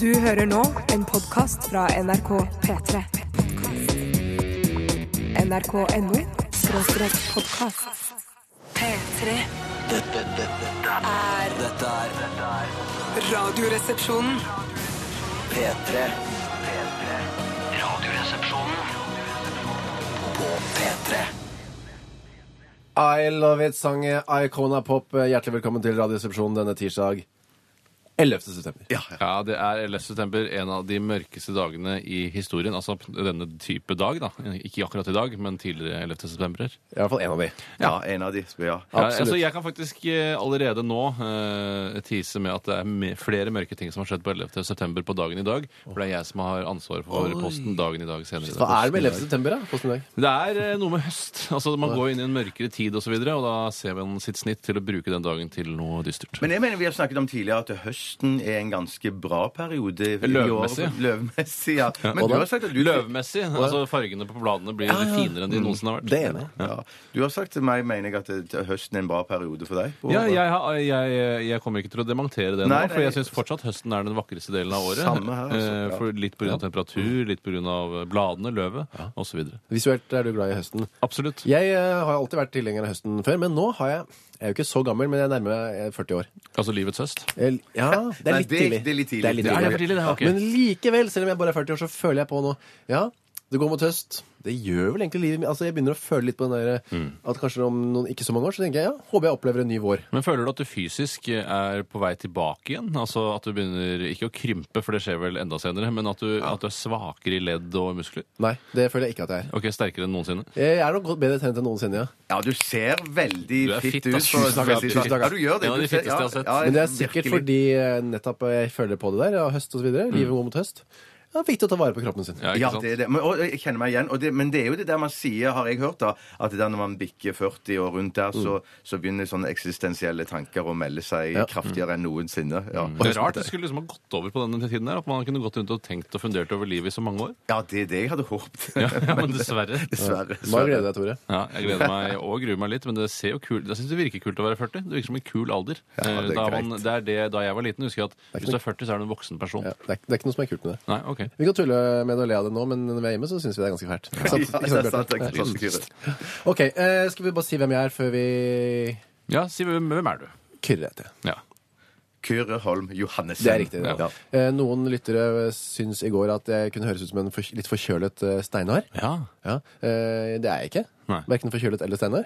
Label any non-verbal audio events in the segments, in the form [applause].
Du hører nå en podkast fra NRK P3. NRK.no skråstrek podkast. P3 Dette, dette, er dette er Radioresepsjonen. P3. P3. Radioresepsjonen på P3. I Love It sang Icona Pop. Hjertelig velkommen til Radioresepsjonen denne tirsdag 11. september. Ja, det er 11. september, en av de mørkeste dagene i historien. Altså denne type dag, da. Ikke akkurat i dag, men tidligere 11. september. I hvert fall én av de. Ja, en av de. Ja. Ja, Absolutt. altså, jeg kan faktisk eh, allerede nå eh, tease med at det er me- flere mørke ting som har skjedd på 11. september på dagen i dag. For det er jeg som har ansvaret for posten dagen i dag senere. Hva er det med 11. september, da? Hvordan i dag? Det er eh, noe med høst. Altså, Man går inn i en mørkere tid osv., og, så videre, og da ser man sitt snitt til å bruke den dagen til noe dystert. Men jeg mener vi har snakket om tidligere at høsten er en ganske bra periode. i Løvmessig. år. Løvmessig, ja. Men Og du da- har sagt at du Løvmessig. altså Fargene på bladene blir finere enn de noensinne har vært. Det er enig. Ja. Du har sagt til meg, mener jeg, at det- høsten er en bra periode for deg. Ja, jeg, har- jeg, jeg kommer ikke til å dementere det nå, Nei, for nei. jeg syns fortsatt høsten er den vakreste delen av året. Samme her, altså, Eh, ja. For litt pga. temperatur, litt pga. bladene, løvet osv. Visuelt er du glad i høsten. Absolutt. Jeg eh, har alltid vært tilhenger av høsten før, men nå har jeg Jeg er jo ikke så gammel, men jeg nærmer meg eh, 40 år. Altså livets høst. Jeg- Ja, [laughs] det er Nei, litt det- tidlig. det er litt Det tidlig. er litt Det er tidlig. for tidlig, det er ok. Men likevel, selv om jeg bare er 40 år, så føler jeg på nå Ja, det går mot høst. Det gjør vel egentlig livet mitt Altså, jeg begynner å føle litt på den der Mm. at kanskje om noen ikke så mange år, så tenker jeg ja, håper jeg opplever en ny vår. Men føler du at du fysisk er på vei tilbake igjen? Altså At du begynner ikke å krympe, for det skjer vel enda senere, men at du, at du er svakere i ledd og muskler? Nei, det føler jeg ikke at jeg er. Ok, Sterkere enn noensinne? Jeg er nok godt bedre trent enn noensinne, ja. Ja, du ser veldig Du er fitt fit, ut. ass. for- Tusen takk, for- tusen takk, ass. Ja, du gjør det. En av de Du ser- fitteste jeg har sett. ja, Men det er sikkert virkelig. fordi eh, nettopp jeg føler på det der, ja, høst og så videre. Livet går mot høst. Ja, viktig å ta vare på kroppen sin. Ja, ikke Mm. Ja, sant? det er det. Men, og jeg kjenner meg igjen. Og det, men det er jo det der man sier, har jeg hørt, da, at det der når man bikker 40 og rundt der, så, så begynner sånne eksistensielle tanker å melde seg Mm. Ja. Mm. kraftigere enn noensinne. Ja. Det er rart det skulle liksom ha gått over på denne tiden. her At man kunne gått rundt og tenkt og fundert over livet i så [laughs] mange år. Ja, det er det jeg hadde håpet. Ja, [laughs] ja men dessverre. Dessverre. Nå gleder jeg deg, Tore. Ja, jeg gleder meg og gruer meg litt, men det ser jo kul. jeg synes det virker kult å være 40. Det virker som en kul alder. Eh, Ja, det er da, man, greit. det er det, da jeg var liten, husker jeg at er ikke hvis du er 40, så er du en voksen person. Ja, det, er, det er ikke noe som er kult med det. Nei, ok. Vi kan tulle med det og le av det nå, men når vi er hjemme, så syns vi det er ganske fælt. Ikke [laughs] sant? [laughs] Ja, Ikke sant, det er sant, det Bjarte? er sånn sant, Kyrre. Ja. OK, eh, skal vi bare si hvem jeg er før vi Ja, si hvem, hvem er du? Kyrre heter jeg. Ja. Kyrre Holm Johannessen. Det er riktig. det. Ja. Eh, noen lyttere syns i går at jeg kunne høres ut som en for, litt forkjølet eh, Steinar. Ja. Ja, eh, det er jeg ikke. Nei. Verken forkjølet eller Steinar.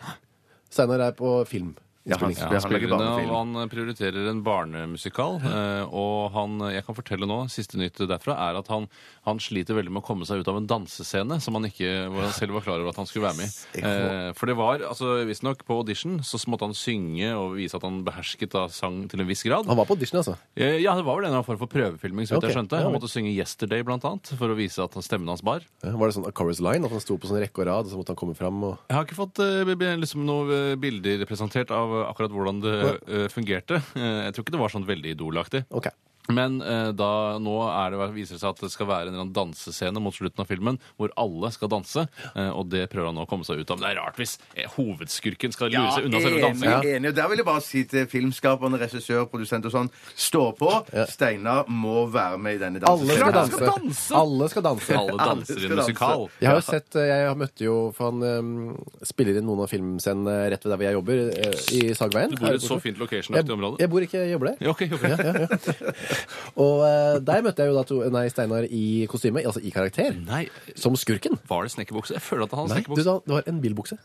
Steinar er på film. Ja, han, Ja, han han spiller lager inne, barnefilm. og han prioriterer en barnemusikal. eh, Og han, jeg kan fortelle nå, siste nytt derfra, er at han, han sliter veldig med å komme seg ut av en dansescene som han ikke hvor han selv var klar over at han skulle være med i. Eh, For det var, altså visstnok, på audition så måtte han synge og vise at han behersket da sang til en viss grad. Han var på audition, altså. Eh, Ja, det var vel en eller annen form for prøvefilming. så vidt Ok, jeg skjønte. ja, Han vel. måtte synge 'Yesterday' blant annet, for å vise at stemmen hans bar. Ja, Var det sånn A Chorus Line? At han sto på sånn rekke og rad, og så måtte han komme fram? Og... Jeg har ikke fått eh, b- b- liksom, noen eh, bilder presentert av eh, akkurat hvordan det eh, fungerte. Eh, jeg tror ikke det var sånn veldig idolaktig. Ok. Men eh, da, nå er det, viser det seg at det skal være en eller annen dansescene mot slutten av filmen hvor alle skal danse, eh, og det prøver han nå å komme seg ut av. Men det er rart hvis eh, hovedskurken skal lure seg unna selve dansinga. enig, enig. Og Der vil jeg bare si til filmskaperne, regissør, produsent og sånn Stå på! Steinar må være med i denne dansen. Alle skal Klart han danse. skal danse! Alle skal danse. [laughs] Alle danser i en Alle skal musikal. Jeg har jo sett, eh, jeg møtte jo, for han eh, spiller inn noen av filmscenene rett ved der hvor jeg jobber, eh, i Sagveien. Du bor i her et borte. så fint jeg, location-aktig område. jeg bor ikke, jeg jobber der. Ja, ok, ok. Og eh, der møtte jeg jo da to, nei, Steinar i kostyme, altså i karakter. Nei, Som skurken. var det snekkerbukse? Jeg føler at han har Nei, du, snekkerbukse. da, det var en bilbukse.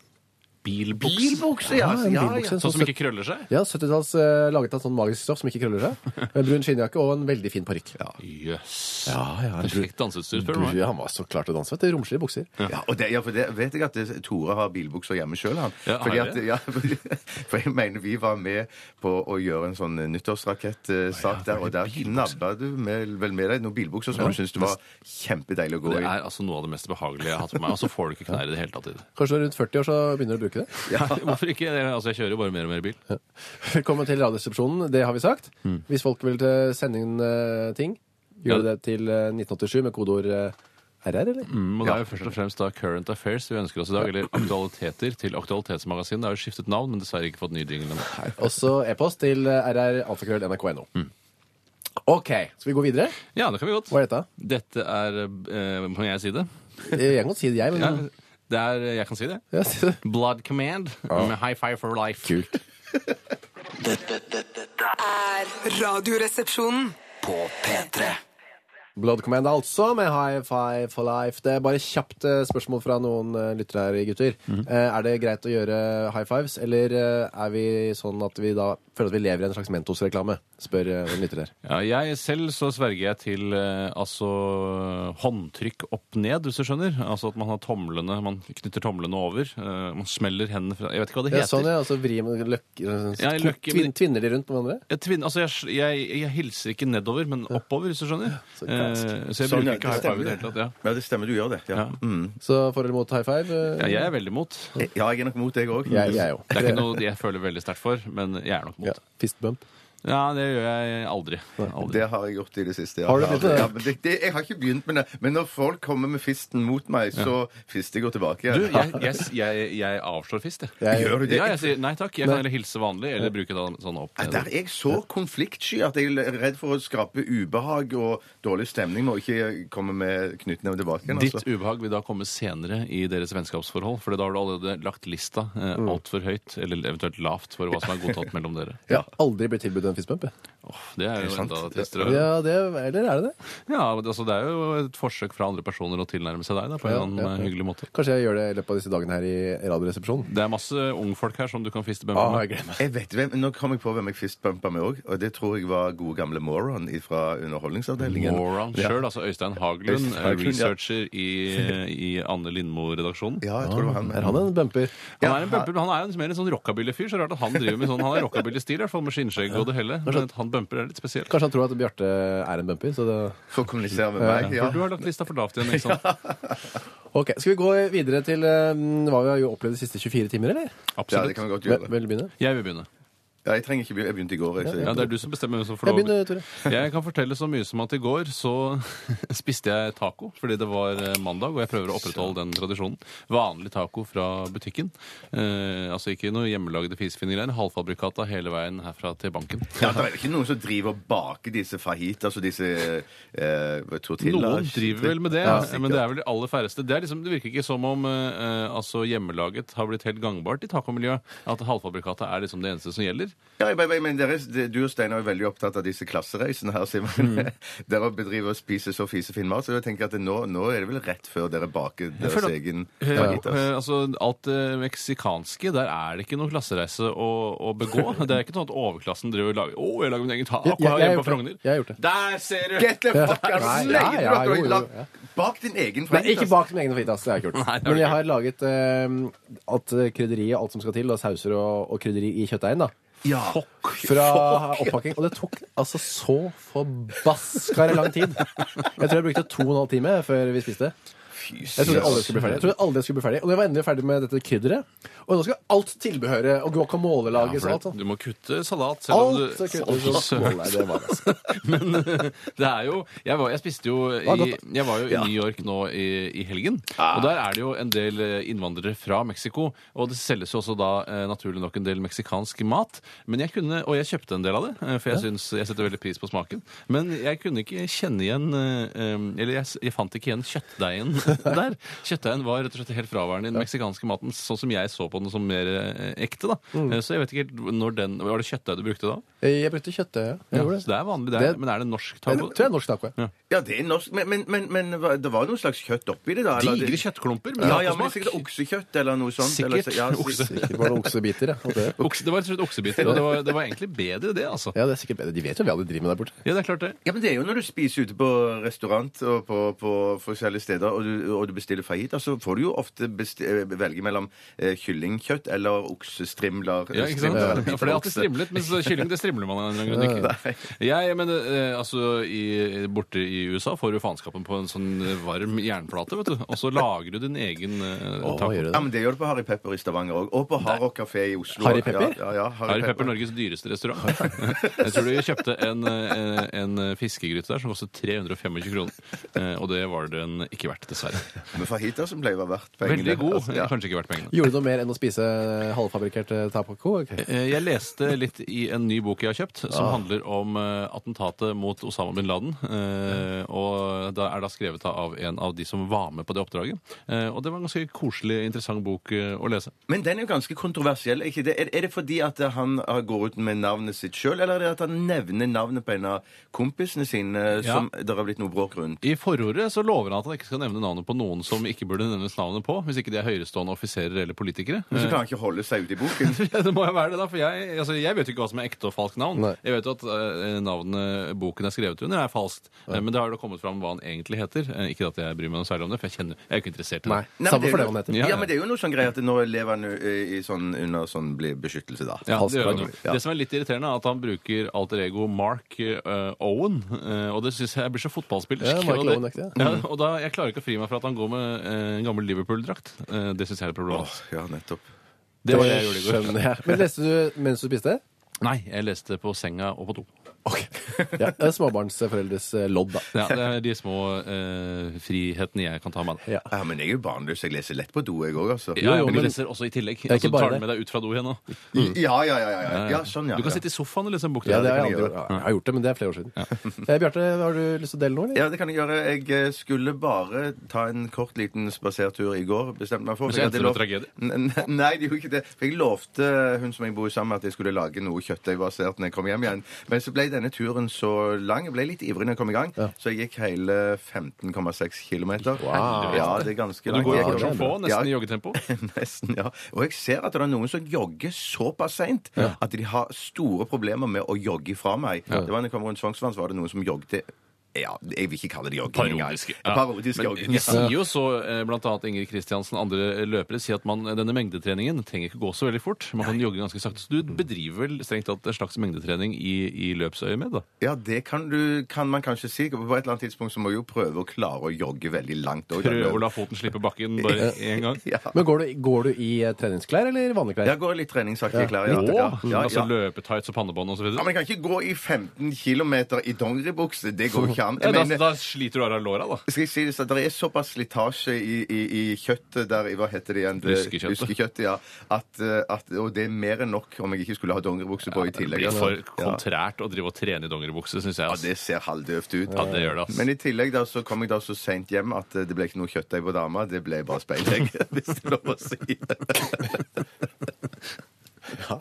Bilbukse? Bilbukse, ja! Ja, en ja, bilbukse. ja. Sånn som ikke krøller seg? Ja, 70-talls eh, laget av sånn magisk stoff som ikke krøller seg. En brun skinnjakke og en veldig fin parykk. Ja. Jøss. Ja, ja, en brun- Perfekt danseutstyr, spør du meg. brun- han var så klar til å danse, vet du. Romslige bukser. Ja, og det, ja, for det vet jeg at det, Tore har bilbukser hjemme sjøl, han. Ja, har Fordi jeg at, det? ja, [laughs] for jeg mener vi var med på å gjøre en sånn nyttårsrakettsak der, og der nabla du med, vel med deg noen bilbukser som du syntes det var kjempedeilig å gå i. Det er altså noe av det mest behagelige jeg har hatt på meg. Og så får du ikke knær i det hele tatt. i det. Kanskje du er rundt 40 år, så begynner du å bruke det. [laughs] Hvorfor ikke? Altså, Jeg kjører jo bare mer og mer bil. Velkommen til Radioresepsjonen, det har vi sagt. Hvis folk vil eh, sende inn eh, ting, gjør Ja. det til eh, 1987 med kodeord eh, RR, eller? Mm, og det Ja. er jo først og fremst da Current Affairs vi ønsker oss i dag, eller Aktualiteter til Aktualitetsmagasinet. Det har jo skiftet navn, men dessverre ikke fått ny jingle ennå. Også e-post til rr.nrk.no. Mm. OK, skal vi gå videre? Ja, det kan vi godt. Hva er dette? Eh, Dette er eh, Må jeg si det? Jeg kan godt si det, jeg. Ja, Men... det er, jeg kan si det. [laughs] Ja, si det. Blood Command med High Five for Life. Kult. Dette, dette er Radioresepsjonen. på P3. Blood Command altså, med High Five for Life. Det er bare kjapt eh, spørsmål fra noen eh, lyttere her, gutter. Mm. Eh, Er det greit å gjøre high fives, eller eh, er vi sånn at vi da føler at vi lever i en slags Mentos-reklame? Spør eh, en lytter her. Ja, jeg selv så sverger jeg til eh, altså håndtrykk opp ned, hvis du skjønner. Altså at man har tomlene, man knytter tomlene over. eh, man smeller hendene fra Jeg vet ikke hva det Ja, heter. sånn, ja. Og så vrir man løk, Ja, i løkke, tvin, men- Tvinner de rundt med hverandre? Jeg, tvinn- altså jeg, jeg, jeg hilser ikke nedover, men oppover, hvis du skjønner. så Eh, ganske. så jeg Sånn, ja, det bruker ikke high five i det stemmer. hele tatt. Ja. Ja, det stemmer, du gjør det. Ja, Ja. mm. Så for eller mot high five? eh, Ja, jeg er veldig mot. Det ja jeg er nok mot deg òg. Jeg, jeg er jo. er ikke noe jeg føler veldig sterkt for, men jeg er nok Ja, mot. fist bump. Ja, det gjør jeg aldri. aldri. Det har jeg gjort i det siste. Ja. Har du begynt med det? Ja, men det, det? Jeg har ikke begynt med det. Men når folk kommer med fisten mot meg, så fister jeg jo tilbake. Du, jeg, jeg, jeg, jeg avslår fist, jeg. Jeg, Gjør du det? Ja, jeg sier nei takk. Jeg kan heller hilse vanlig, eller bruke da, sånn opp Nei, ned. Der er jeg så konfliktsky at jeg er redd for å skape ubehag og dårlig stemning med å ikke komme med knyttneven tilbake. igjen, Ditt Altså. ubehag vil da komme senere i deres vennskapsforhold, for da har du allerede lagt lista eh, altfor høyt, eller eventuelt lavt, for hva som er godtatt mellom dere. jeg har aldri blitt tilbudt en fist bump. jeg. Åh, det er jo sant. enda tristere. Ja, Ja, det, eller er det det? men altså, det er jo et forsøk fra andre personer å tilnærme seg deg da, på en Ja, eller ja, annen eh, ja. hyggelig måte. Kanskje jeg gjør det i løpet av disse dagene her i Radioresepsjonen. Det er masse ungfolk her som du kan fiste bømmer Ah, jeg med. gleder meg. Jeg vet hvem, Nå kom jeg på hvem jeg fistbumpa med òg, og det tror jeg var gode gamle Moron fra Underholdningsavdelingen. Moron Ja. sjøl, altså Øystein Haglund, Øystein Haglund, ja. researcher i, i Anne Lindmo-redaksjonen. Ja, jeg tror det var han. Er han en bumper? Han er en bumper, men han er jo mer en sånn rockabilly-fyr. så rart at Han driver med sånn, han er rockabilly-stil, i hvert fall med skinnskjegg og det hele. Men at han bumper er litt spesielt. Kanskje han tror at Bjarte er en bumper. Så det... For å kommunisere med meg. Ja. For du har lagt lista for lavt igjen, [laughs] ikke sant? Ok, Skal vi gå videre til eh, hva vi har jo opplevd de siste 24 timer, eller? ja, det kan vi godt Hvem gjøre. vil begynne? Jeg vil begynne. Ja, jeg trenger ikke begynne. Jeg begynte i går. Jeg, Ja, så Det er du som bestemmer hvem som får Jeg lov. begynner, Tore. Jeg kan fortelle så mye som at i går så [laughs] spiste jeg taco, fordi det var eh, mandag, og jeg prøver å opprettholde den tradisjonen. Vanlig taco fra butikken. Eh, altså ikke noe hjemmelagde fisefine greier. Halvfabrikata hele veien herfra til banken. Ja, det er ikke noen som driver og baker disse fajitas og disse eh, tortillaer. Noen driver vel med det, men det er vel de aller færreste. Det, er liksom, det virker ikke som om eh, eh, altså hjemmelaget har blitt helt gangbart i tacomiljøet. At halvfabrikata er liksom det eneste som gjelder. Ja, jeg, jeg, men dere, Du og Steinar er veldig opptatt av disse klassereisene her, Simen. Mm. [laughs] Dere bedriver og spiser så fisefin mat, så jeg tenker at det nå, nå er det vel rett før dere baker deres føler at- egen Eh, fajitas. eh, altså, alt det meksikanske, der er det ikke noen klassereise å, å [laughs] begå. Det er ikke sånn at overklassen driver og lager Å, jeg lager min egen taco jeg- jeg har hjemme på gjort det. Frogner. Jeg har gjort det. Der ser du! Get the fuck [laughs] out! Nei, ja, Slenger du ja, at du har jo, jo, lagd- ja. Bak din egen altså. Nei, fajitas! ikke bak mine egne fajitas. Det er kult. Nei, det er Men jeg kult. har laget eh, at krydderiet, alt som skal til, og sauser og, og krydderi i kjøttdeigen, da. Ja. Fra oppakking. Og det tok altså så forbaskere lang tid. Jeg tror jeg brukte to og en halv time før vi spiste. Jeg trodde aldri jeg skulle bli ferdig. Jeg trodde aldri jeg skulle bli ferdig Og jeg var endelig ferdig med dette krydderet. Og nå skal alt tilbehøret og guacamole Ja, lages og for det- alt sånt. Du må kutte salat, selv om Alt du skal kuttes. Søren. Nei, det var altså Men eh, det er jo Jeg, var, jeg spiste jo var i, godt, Ah. Jeg var jo i New York nå i, i helgen. Og der er det jo en del eh, innvandrere fra Mexico. Og det selges jo også da eh, naturlig nok en del meksikansk mat. Men jeg kunne, Og jeg kjøpte en del av det, eh, for jeg, synes, jeg setter veldig pris på smaken. Men jeg kunne ikke kjenne igjen eh, eh, Eller jeg, s- jeg fant ikke igjen [laughs] kjøttdeigen der. Kjøttdeigen var rett og slett helt fraværende i den meksikanske maten, sånn som jeg så på den som mer eh, ekte. da Mm. Eh, Så jeg vet ikke helt når den Var det kjøttdeig du brukte da? [laughs] Jeg brukte kjøttdeig. ja. Jeg Ja, gjorde så det det. er vanlig, det er, Det- men er det norsk Jeg taco? tror jeg er norsk taco. jeg. Ja, det er norsk, men, men, men, men hva- det var noe slags kjøtt oppi det, da? eller? Digre kjøttklumper med Ja, ja, men tacosmak. sikkert oksekjøtt eller noe sånt. Sikkert eller, ja, okse. Sikkert var det oksebiter. Ja, og det- Okse, det var rett og slett oksebiter, og det var, det var egentlig bedre det, altså. ja, det er sikkert bedre. De vet jo vi aldri driver med der borte. Ja, det er klart det. Ja, men Det er jo når du spiser ute på restaurant og på, på forskjellige steder, og du, og du bestiller fajita, så får du jo ofte besti- eh, velge mellom eh, kyllingkjøtt eller oksestrimler. Ja, ikke sant? Strimler eller Ja, for det er [laughs] biter alltid okse. strimlet, mens kylling det strimler man av en eller annen grunn ikke. Jeg, men, eh, altså, i, borte i i USA får du faenskapen på en sånn varm jernplate, vet du. Og så lager du din egen eh, Å, taco. gjør det Ja, men Det gjør du på Harry Pepper i Stavanger òg. Og på Hard Rock Café i Oslo. Harry Pepper? Ja, ja, ja, Harry Pepper, Norges dyreste restaurant. [laughs] Jeg tror de kjøpte en, eh, en fiskegryte der som kostet 325 kroner. Eh, Og det var den ikke verdt, dessverre. Men fajita som ble verdt pengene. Veldig god, Altså, ja. kanskje ikke verdt pengene. Gjorde du noe mer enn å spise halvfabrikkert eh, tapaco? Okay. Eh, Jeg leste litt i en ny bok jeg har kjøpt, som handler om eh, attentatet mot Osama bin Laden. eh, Og det er da skrevet av en av de som var med på det oppdraget. Eh, Og det var en ganske koselig, interessant bok eh, å lese. Men den er jo ganske kontroversiell. er Ikke det? Er, er det fordi at han eh, går ut med navnet sitt sjøl, eller er det at han nevner navnet på en av kompisene sine eh, Ja. som det har blitt noe bråk rundt? I forordet så lover han at han ikke skal nevne navnet på noen som ikke burde nevnes navnet på, hvis ikke de er høyerestående offiserer eller [laughs] politikere. Eh, Men så kan han ikke holde seg ute i [laughs] boken. Ja, det må jo være det, da. For jeg, altså, jeg vet jo ikke hva som er ekte og falskt navn. Nei. Jeg vet jo at eh, navnet boken er skrevet under, er falskt. Eh, men det har jo da kommet fram hva han egentlig heter. Eh, ikke at jeg bryr meg noe særlig om det, for jeg, kjenner, jeg er jo ikke interessert i det. Nei. Nei, men Samme er for det jo- han heter. Ja, Ja, ja. men det er jo noe sånn greie at nå lever han eh, i sånn, under sånn bli- beskyttelse, da. Ja, det, gjør han jo. Ja. det som er litt irriterende, er at han bruker alter ego Mark eh, Owen. eh, og det syns jeg blir så fotballspillersk. Ja, Michael og det- Owen-aktig, ja, og da, jeg klarer ikke å fri meg fra at han går med eh, en gammel Liverpool-drakt. Eh, det syns jeg er problematisk. Ja, nettopp. Det var det jeg gjorde i går. Skjønner jeg. Men leste du mens du spiste? Nei, jeg leste på senga og på do. Ok. Ja, det er småbarnsforeldres eh, lodd, da. Ja, det er de små eh, frihetene jeg kan ta meg. da. Ja. Ja, men jeg er jo barnløs. Jeg leser lett på do, jeg òg, altså. Ja, jo, men du men- leser også i tillegg. er Altså, ikke du tar bare den med deg ut fra do igjen nå. Mm. Ja, ja, ja. ja, ja. ja sånn, ja. Du kan ja. sitte i sofaen og lese en bok. Ja, til. det har kan jeg, jeg aldri, gjort. jeg har gjort det, men det er flere år siden. [laughs] Eh, Bjarte, har du lyst til å dele noe? Eller? Ja, det kan jeg gjøre. Jeg eh, skulle bare ta en kort liten spasertur i går. Bestemte meg for. Men for så jeg endte det hadde N- med n- Nei, det gjorde ikke det. For jeg lovte hun som jeg bor sammen med, at jeg skulle lage noe kjøttdeigbasert når jeg kom hjem igjen. Men så ble denne turen så lang. Jeg ble litt ivrig når jeg kom i gang, så jeg gikk hele 15,6 km. Ja, det er ganske Og du langt. går jo Jeg- fort som få, Ja, nesten i joggetempo. [laughs] Nesten, ja. Og jeg ser at det er noen som jogger såpass seint at de har store problemer med å jogge fra meg. Det var når jeg kom rundt Sognsvann, så var det noen som jogget ja, Jeg vil ikke kalle det jogging engang. Parodiske. Ja. Parodisk jogging. De sier jo så, eh, blant annet Ingrid Kristiansen, andre løpere, sier at man, eh, denne mengdetreningen trenger ikke gå så veldig fort. Man kan jogge ganske sakte. Så du bedriver vel strengt tatt en slags mengdetrening i, i løpsøyemed, da? Ja, det kan, du, kan man kanskje si. På et eller annet tidspunkt så må du jo prøve å klare å jogge veldig langt. også. Prøve å la foten slippe bakken bare én gang? Ja. Men går du, går du i eh, treningsklær eller vanlige klær? Jeg går litt treningsaktig klar. Ja. Å! Ja, ja, Altså ja. løpetights og pannebånd og så Ja, videre? men jeg kan ikke gå i 15 km i dongeribukse. Det går ikke an. Ja, Jeg da, mener, da sliter du av deg låra, da. skal jeg si det, så Det er såpass slitasje i, i, i kjøttet der i- Hva heter det igjen? Det- Luskekjøttet. Luskekjøttet, ja. At, eh, at, og det er mer enn nok om jeg ikke skulle ha dongeribukse på i Det tillegg. blir altså. for Ja. kontrært å drive og trene i dongeribukse, syns jeg. Ja, Altså. det ser halvdøvt ut. Ja, det gjør det, Men ass. i tillegg da, så kom jeg da så seint hjem at eh, det ble ikke noe kjøttdeig på dama. Det ble bare speilegg, [laughs] hvis det er lov å si. [laughs] Ja.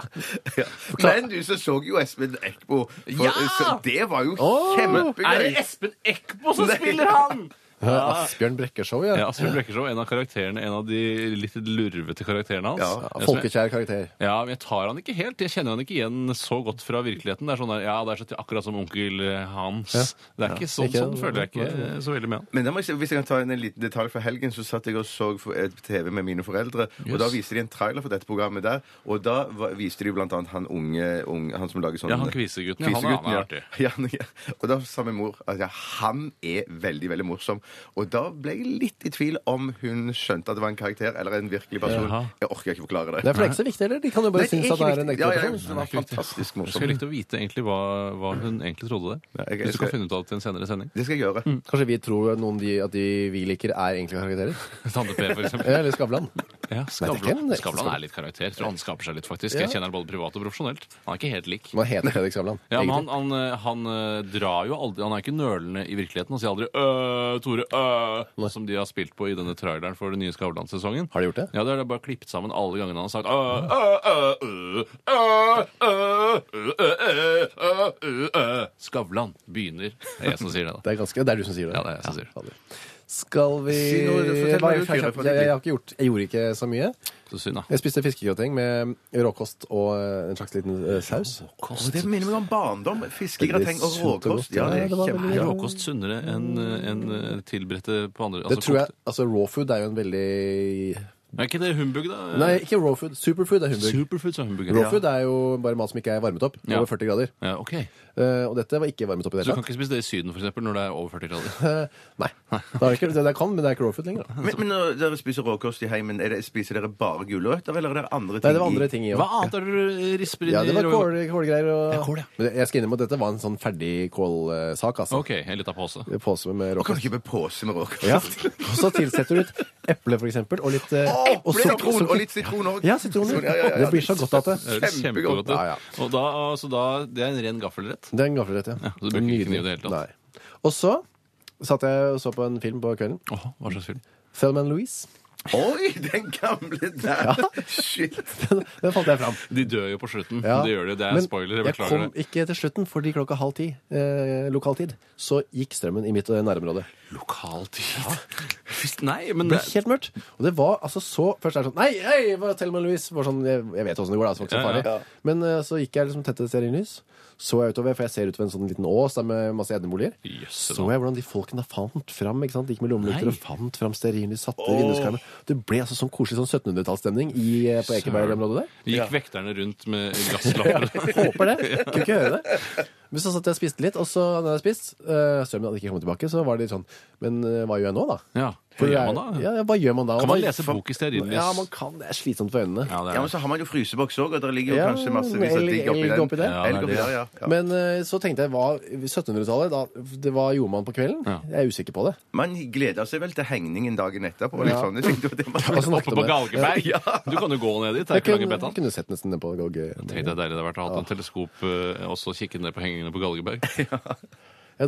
Men du så så jo Espen Eckbo. for- Ja! så Det var jo Åh! Er kjempegøy! det Espen Eckbo som Nei. spiller han?! [laughs] Ja, Asbjørn Brekkeshow, ja. Ja, Asbjørn Blekkershov, en av karakterene, en av de litt lurvete karakterene hans. Ja, Jeg- Folkekjær karakter. Ja, men jeg tar han ikke helt. Jeg kjenner han ikke igjen så godt fra virkeligheten. Det er sånn der, ja, det er så akkurat som onkel eh, Hans. Det er ikke sånn, Ikke- sånn føler jeg ikke så veldig med han. Men da må jeg, si- hvis jeg kan ta en liten detalj fra helgen, så satt jeg og så for- eh, TV med mine foreldre. Og da viste de en trailer for dette programmet der. Og da var, viste de jo blant annet han unge, unge Han som lager sånn Ja, han kvisegutten, ja, han er- han er Kvisegutten, [laughs] ja. Ja, ja. Og da sa min mor at ja, han er veldig, veldig morsom. Og da ble jeg litt i tvil om hun skjønte at det var en karakter eller en virkelig person. Jaha. Jeg orker ikke forklare det. Det er for det er ikke så viktig heller. De kan jo Nei, bare synes at det er en viktig. ekte ja, ja, jeg person. synes det var fantastisk Jeg skulle morsom. likt å vite egentlig hva, hva hun egentlig trodde Ja, der. jeg- Hvis du kan jeg- finne ut av det til en senere [laughs] sending. Det skal jeg gjøre. Mm. Kanskje vi tror noen de, at de vi liker, er egentlig karakterer? Tante P, for eksempel. Ja, Eller Skavlan. Ja, Nei, det er Skavlan. ikke det. Skavlan er litt karakter. Jeg tror han skaper seg litt, faktisk. Jeg Ja. kjenner han både privat og profesjonelt. Han er ikke helt lik. Hva heter Fredrik Skavlan? Ja, men han, egentlig? han, eh, han eh, drar jo aldri Han er ikke nølende i virkeligheten. Han sier aldri 'øh, Tore, øh', som de har spilt på i denne traileren for den nye Skavlan-sesongen. Har de gjort det? Ja, det er det bare klippet sammen alle gangene han har sagt «Øh, øh, øh, øh, øh, øh, øh, øh, øh, øh, øh». Skavlan begynner. Det er jeg som sier det, da. Det er, ganske, det er du som sier det. Ja, det er jeg som sier det. fader. Skal vi Si noe, fortell Hva- hva du jeg, fyrer på ditt jeg, liv. jeg, har ikke gjort, jeg gjorde ikke så mye. Så synd, da. Jeg spiste fiskegrating med råkost og eh, en slags liten eh, saus. Og det minner meg om barndom. Fiskegrateng og Veldig sunt og råkost. godt, Ja, ja. det er Det var veldig- kjempe... Råkost sunnere enn en tilberedte på andre Det altså tror jeg, kokte. altså Raw food er jo en veldig Er ikke det humbug, da? Nei, ikke raw food. Superfood er humbug. Superfoods er humbug. Raw Ja. food er jo bare mat som ikke er varmet opp. Ja. Over 40 grader. Ja, ok. Eh, og dette var ikke varmet opp i det Så hele du kan tatt. ikke spise det i Syden for eksempel, når det er over 40 grader? Eh, nei. Det, er ikke, det, det kan, men det er ikke raw food lenger. Da. Men, men når dere spiser råkost i heimen, er det, spiser dere bare gulrøtter, eller er det andre ting? Nei, det var i? andre ting i Hva annet er det du risper inn Ja, det var i kål, kålgreier. Og... Ja, kål, ja. Men jeg skal innrømme at dette var en sånn ferdig kålsak, altså. Ok, en liten pose. Påse med Man kan råkost. ikke kjøpe pose med råkost. Ja. Og så tilsetter du litt eple, for eksempel, og litt eh, Å, og sukker- sitron, sukker. og litt sitron òg. Ja, sitron. Ja, ja, ja, ja. Det blir så godt at det Det høres Kjempegodt. kjempegodt ut. Ja, ja. Og da, altså, da, det er en ren gaffelrett. Det er en gaffelrett, ja. så du bruker ikke kniv i det hele tatt? Nei. Og så satt jeg og så på en film på kvelden. Åh, hva slags film? Thelman Louise. Oi, den gamle der! Shit. Den, den fant jeg fram. De dør jo på slutten. Ja. [laughs] Det gjør de. Det er Men spoiler. Jeg jeg beklager kom det. ikke til slutten, fordi klokka halv ti eh, lokaltid så gikk strømmen i mitt eh, nærområde. Lokaltid? Visst- Nei, men Det ble helt mørkt. Og det var altså så Først er det sånn Nei, hei, hva- Thelma Louise. Var sånn, jeg, jeg vet åssen det går, da. Så det var ikke så Ja, ja. farlig. Men eh, så gikk jeg liksom tett etter stearinlys. Så jeg utover, for jeg ser utover en sånn liten ås der med masse edneboliger. Jøsse Så da. jeg hvordan de folkene fant fram. ikke sant? De gikk med lommelykter Nei. og fant fram stearinlys, satte i vinduskarmen. Det ble altså sånn koselig sånn 1700-tallsstemning i, eh, på Ekeberg-området der. Gikk vekterne rundt [laughs] med gasslapper? Håper det. [laughs] Kunne ikke høre det. Men så satt jeg og spiste litt, og så når jeg hadde spist, eh, strømmen hadde ikke kommet tilbake, så var det litt sånn Men eh, hva gjør jeg nå, da? Ja. For Hva jeg- gjør man da? Ja, hva gjør man da? Kan man Og da- lese bok i stearinlys? Ja, man kan. Det er slitsomt for øynene. Ja, Ja, det er men det. så har man jo fryseboks òg, og der ligger jo Ja, kanskje massevis av elg- digg oppi elg den. oppi der. Ja, Elg det er oppi det. der, ja. ja. Men eh, så tenkte jeg, hva 1700-tallet, da, det hva gjorde man på kvelden? Ja. Jeg er usikker på det. Man gleder seg vel til hengningen dagen etterpå. Litt Ja. Altså, sånn. Jeg tenkte jo det man... Og så Oppe snakket på om det. Galgeberg? Du kan jo gå ned dit. Det er Jeg ikke kunne, lange betan. jeg kunne sett nesten den på Gog. Tenk deg deilig det har vært å ha hatt en teleskop eh, og så kikke ned på hengingene på Galgeberg. For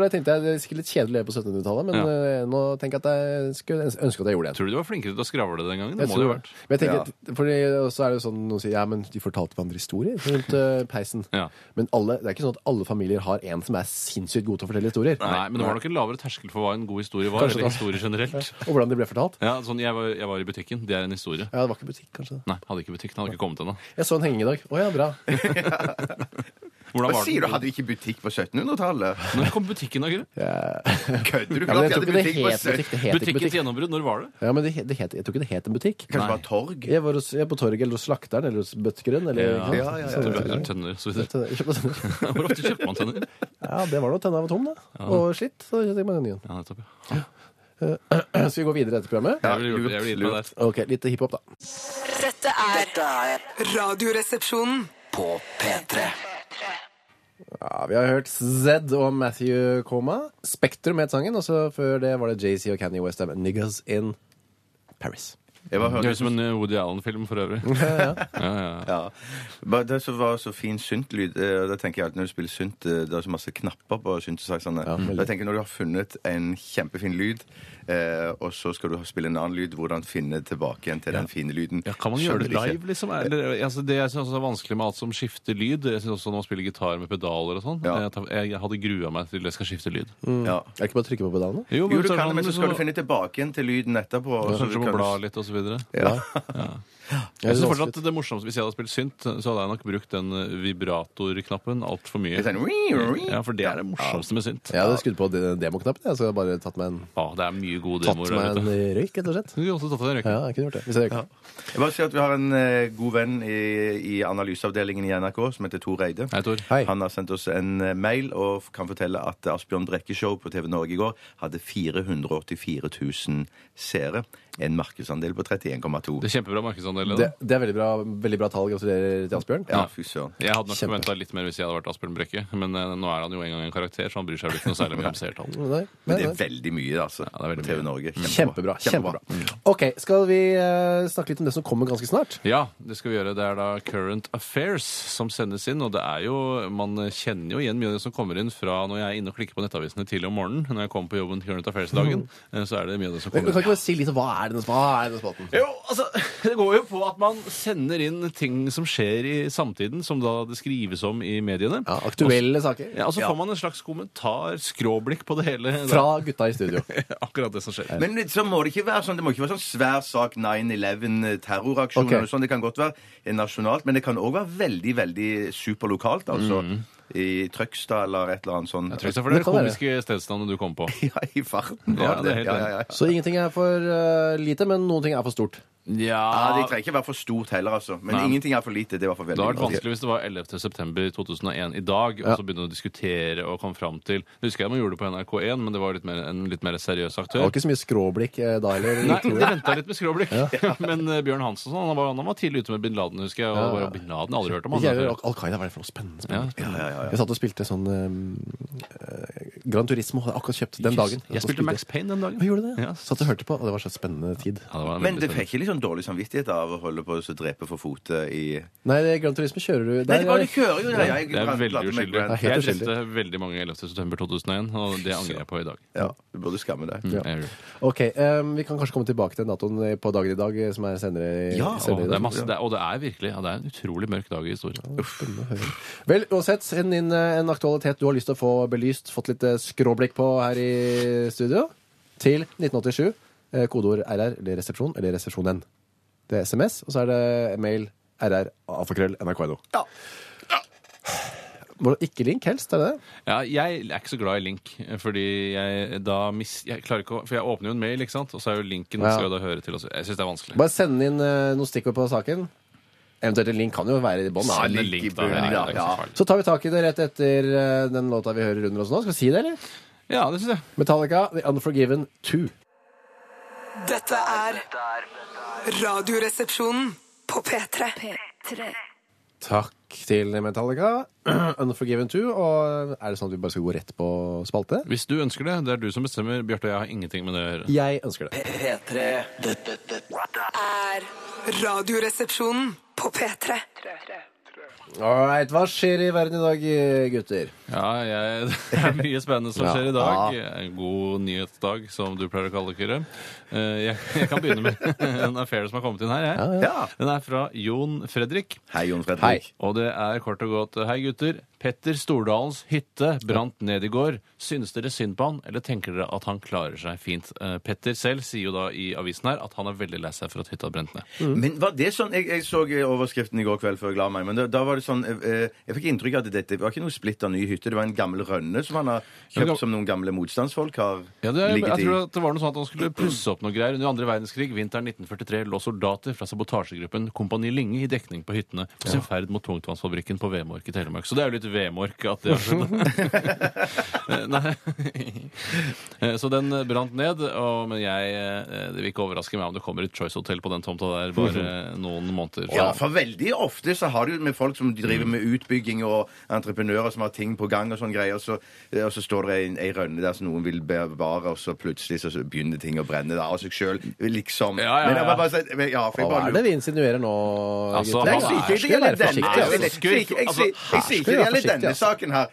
jeg tenkte jeg det er sikkert litt kjedelig å leve på 1700-tallet, men Ja. eh, nå tenker jeg at jeg skulle ens- ønske at jeg gjorde det. Tror du de var flinkere til å skravle den gangen? Jeg Det tror må det ha det. vært. Men jeg tenker, fordi, og så er det jo sånn noen sier ja, men de fortalte hverandre historier rundt eh, peisen. Ja. Men alle, det er ikke sånn at alle familier har en som er sinnssykt god til å fortelle historier. Nei, men det var nok en lavere terskel for hva en god historie var. Kanskje Eller det historie generelt. Og hvordan de ble fortalt. Ja, sånn, jeg var, jeg var i butikken. Det er en historie. Ja, det var ikke butikk, kanskje. Nei, hadde ikke butikken. Hadde ikke kommet ennå. Jeg så en henging i dag. Å ja, bra. Hvordan Hva var sier du? den? Hadde vi ikke butikk på 1700-tallet? Når kom butikken, da, Kyrre? [laughs] Kødder du? Ja, men jeg Klart vi tror hadde ikke det butikk på het butikk. Det het 1700-tallet. ikke Butikkens butikk. gjennombrudd, når var det? Ja, men det, het- det het, jeg tror ikke det het en butikk. Kanskje det Nei. var torg? Jeg var, hos, jeg var på torget eller hos slakteren eller hos bøttekeren. Eller, Ja, ikke ja, sant? ja, Sånne ja. ting. Eller tønner, [laughs] så videre. Tønner- kjøpte tønner. Hvor ofte kjøper man tønner? [laughs] Ja, det var nå tenna var tom, da. Og slitt. Så kjøpte jeg meg en ny en. Ja, nettopp. ja. Skal vi gå videre etter programmet? Jeg ville gjort det. Jeg ville gitt meg der. Ok, litt hiphop, da. Dette er Dette er Radioresepsjonen. på P3. Ja, Vi har hørt Zed og Matthew Coma. Spektrum het sangen. Og så før det var det JC og Kanye West med Niggas in Paris. Jeg var Det hørt høres ut som en eh, Woody Allen-film for øvrig. Ja, ja, ja. ja. Bare Det som var så fin syntlyd eh, Da tenker jeg at når du spiller synt eh, Det er så masse knapper på synthesizerne. veldig. da tenker jeg når du har funnet en kjempefin lyd, eh, og så skal du ha- spille en annen lyd, hvordan finne tilbake igjen til den fine lyden? Ja, kan man gjøre det Skjønner ikke. live, liksom? Eller, altså, det jeg synes også er vanskelig med alt som skifter lyd. Jeg synes også Når man spiller gitar med pedaler og sånn Ja. jeg, tar- jeg hadde grua meg til jeg skal skifte lyd. Ja. Er det ikke bare å trykke på pedalene? Jo, du kan det, men så skal du finne tilbake igjen til lyden etterpå. og så Kanskje kan må du- bla litt og så videre. Ja. Jeg synes det er fortsatt det morsomste Hvis jeg hadde spilt synt, så hadde jeg nok brukt den eh, vibratorknappen altfor mye. Litt sånn- Ja, for det er det morsomste med synt. Jeg hadde skrudd på de- demoknappen, jeg, så jeg hadde bare tatt meg en, Ja, det er mye gode tatt demoer der meg en ute. røyk, rett og slett. Du kunne også tatt deg en røyk. Ja, jeg kunne gjort det. Hvis jeg røyka. Jeg bare sier at Vi har en eh, god venn i, i analyseavdelingen i NRK som heter Tor Eide. Hei, Tor. Hei. Han har sendt oss en eh, mail og f- kan fortelle at Asbjørn Brekke-show på TV Norge i går hadde 484 000 seere. En markedsandel på 31,2. Det er kjempebra markedsandel. Det, det da. det er veldig bra, veldig bra tall. Gratulerer til Asbjørn. Ja, fy søren. Jeg hadde nok Kjempe. forventa litt mer hvis jeg hadde vært Asbjørn Brekke, men eh, nå er han jo en gang en karakter, så han bryr seg vel ikke noe [laughs] særlig mye om seertall. Nei, Men nei, det nei. er veldig mye, altså. det er veldig på TV mye. Mm. Norge. Kjempebra. kjempebra. Ok, Skal vi eh, snakke litt om det som kommer ganske snart? Ja, det skal vi gjøre. Det er da Current Affairs som sendes inn. Og det er jo, man kjenner jo igjen mye av det som kommer inn fra når jeg er inne og klikker på nettavisene tidlig om morgenen. Når jeg kommer på jobben Current [laughs] Affairs-dagen, eh, så er det mye av det som Men Kan kommer inn. ikke bare si litt om hva er denne, hva er denne spalten? Jo, altså, [laughs] Det går jo på at man sender inn ting som skjer i samtiden, som da det skrives om i mediene. Ja, aktuelle saker Ja, Og så får man en slags kommentar, skråblikk på det hele. fra gutta i studio. [laughs] Akkurat det som skjer. Men så må det ikke være sånn Det må ikke være sånn svær sak eh, 9-11-terroraksjon. Ok. eller noe sånt. sånn. Det kan godt være nasjonalt, men det kan òg være veldig veldig superlokalt. Altså Mm. i Trøgstad eller et eller annet sånt. Jeg tror ikke det, for det er Det det kan være. komiske stedsnavnet du kom på. [laughs] Ja, i farten. Ja, var det er helt ja, ja, ja. Så ingenting er for eh, lite, men noen ting er for stort. Ja, Ja, det trenger ikke være for stort heller, altså. Men Nei. ingenting er for lite. Det var for Det veldig hadde lite. vært vanskelig hvis det var 11. september 2001 i dag, og så begynne å diskutere og komme fram til Jeg husker jeg man gjorde det på NRK1, men det var litt mer, en litt mer seriøs Det aktør. var ikke så mye skråblikk eh, da heller. Nei, tror det jeg. venta litt med skråblikk. [laughs] Men eh, Bjørn Hansen og sånn, han, var- han var tidlig ute med bin Laden, husker jeg. Og bare, bin Laden jeg har aldri hørt om Ikke jeg, han. Al Qaida var det for noe spennende. Ja. spennende. Jeg satt og spilte sånn eh, Gran Turismo hadde jeg akkurat kjøpt den dagen. Jeg Satt og spilte Max Payne den dagen. Hva gjorde du det? Ja. Satt og hørte på, og det var så spennende tid. Ja, det var Men du veldig fikk ikke litt sånn dårlig samvittighet av å holde på å så drepe for fote i Nei, det, Gran Turismo kjører du Nei, det var, er- du kjører jo der. Jeg Det er veldig prater med uskyldig. Grant. helt Jeg uskyldig. drepte veldig mange 11. september 2001, og det angrer jeg på i dag. Mm, Ja, du burde skamme deg. Ja. Jeg gjør det. Ok, em, Vi kan kanskje komme tilbake til datoen på dagen i dag, eh, som er senere i, Ja, Og senere i Ah, det, dag. er masse, det er, og det er virkelig ja, det er en utrolig mørk dag i historien. Spennende å høre. Vel, uansett, send inn eh, en aktualitet du har lyst til å få belyst, fått litt eh, skråblikk på her i studio, til 1987. eh, Kodeord RR eller resepsjon eller resepsjon N. Det er SMS, og så er det mail RR alfakrøll nrk.no. Ja. Må du Ikke link helst, er det det? Ja, jeg er ikke så glad i link, fordi jeg da mis... Jeg klarer ikke å, for jeg åpner jo en mail, ikke sant, og så er jo linken Ja. skal jo da høre til også. Jeg syns det er vanskelig. Bare send inn eh, noen stikkord på saken. Eventuelt en link kan jo være i bånn. da. Send en link i da, bunnen, Henrik, det er ikke ja. så farlig. Så tar vi tak i det rett etter eh, den låta vi hører under oss nå. Skal vi si det, eller? Ja, det syns jeg. Metallica, The Unforgiven 2. Dette er Radioresepsjonen på P3. Takk til Metallica. [clears throat] Unforgiven 2. Og er det sånn at vi bare skal gå rett på spalte? Hvis du ønsker det, det er du som bestemmer. Bjarte og jeg har ingenting med det å gjøre. Jeg ønsker [clears throat] det. P3 Dette Er Radioresepsjonen på P3. All right, Hva skjer i verden i dag, gutter? Ja, jeg, [laughs] Det er mye spennende som Ja. skjer i dag. En god nyhetsdag, som du pleier å kalle det, Kyrre. Eh, Jeg, [laughs] jeg kan begynne med en affair som har kommet inn her. Jeg. Ja. Den er fra Jon Fredrik. Hei, Jon Fredrik. Hei. Og det er kort og godt Hei, gutter. Petter Stordalens hytte brant ned i går. Syns dere synd på han, eller tenker dere at han klarer seg fint? Eh, Petter selv sier jo da i avisen her at han er veldig lei seg for at hytta brant ned. Men var det sånn, jeg, jeg så overskriften i går kveld før jeg la meg, men da, da var det sånn eh, eh, Jeg fikk inntrykk av at dette var ikke noe splitter ny hytte. Det var en gammel rønne som han har Ja, kjøpt gam- som noen gamle motstandsfolk har Ja, det er, jeg ligget i. tror at det var noe sånn at han skulle pusse opp noe greier. Under andre verdenskrig, vinteren 1943, lå soldater fra sabotasjegruppen Kompani Linge i dekning på hyttene på sin ferd mot tungtvannsfabrikken på Vemork i Telemark. Så det er jo litt Vemork at det har skjedd. Eh, [laughs] [laughs] Nei. Eh, Så den eh, brant ned, og, men jeg, eh, det vil ikke overraske meg om det kommer et Choice Hotel på den tomta der bare eh, noen måneder. Ja, for veldig ofte så har du jo med folk som driver med utbygging og entreprenører som har ting på gang og sånne greier, så, eh, og så står det en, ei rønne der som noen vil bevare, og så plutselig så begynner ting å brenne da, av seg sjøl, liksom. Ja, ja, Men jeg ja. må bare si- men ja, for jeg Hva bare er det vi insinuerer nå, Altså, gutter? Nei, han jeg sier ikke- jeg sier Skal ikke være forsiktig, det gjelder denne- altså. jeg sier ikke- jeg sier- jeg sier ikke det gjelder denne saken her.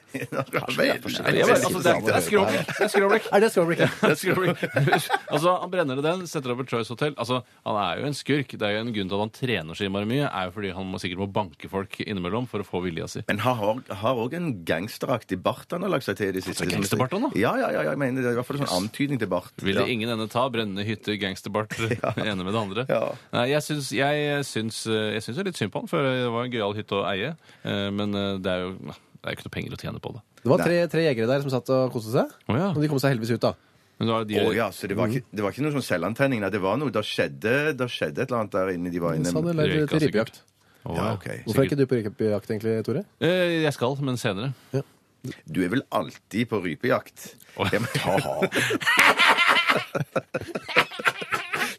Det er [laughs] Jeg bare, veldig altså, det er- det er skråblikk. Det er skråblikk. Er det skråblikket? [laughs] Det skulle bli- [laughs] altså, han brenner det den, setter opp et Choice Hotel. Altså, han er jo en skurk. Det er jo en grunn til at han trener så innmari mye. er jo fordi han må sikkert må banke folk innimellom for å få vilja si. Men han har- har òg en gangsteraktig bart han har lagt seg til i det siste. gangsterbart han da? Ja, ja, ja, jeg mener det er i hvert fall en sånn antydning til bart. Vil ja. det ingen ende ta? Brennende hytter, gangsterbart, [laughs] det ene med det andre. Ja. Nei, jeg syns, jeg, syns, jeg syns jo litt synd på han, for det var en gøyal hytte å eie. Eh, Men eh, det er jo det er jo ikke noe penger å tjene på det. Det var tre, tre jegere der som satt og koste seg. Å, ja. Og de kom seg heldigvis ut, da. Men det var de, Å ja, så det var, ikke, det var ikke noe sånn selvantenning? Nei, det var noe, det skjedde, det skjedde et eller annet der inne de var Så inne. hadde Sånn, de røyka lært til sikkert. ribbejakt. Å, Ja, ja. ok. Hvorfor er ikke du på rypejakt, egentlig, Tore? Eh, Jeg skal, men senere. Du er vel alltid på rypejakt? Å, Ja, [laughs] men-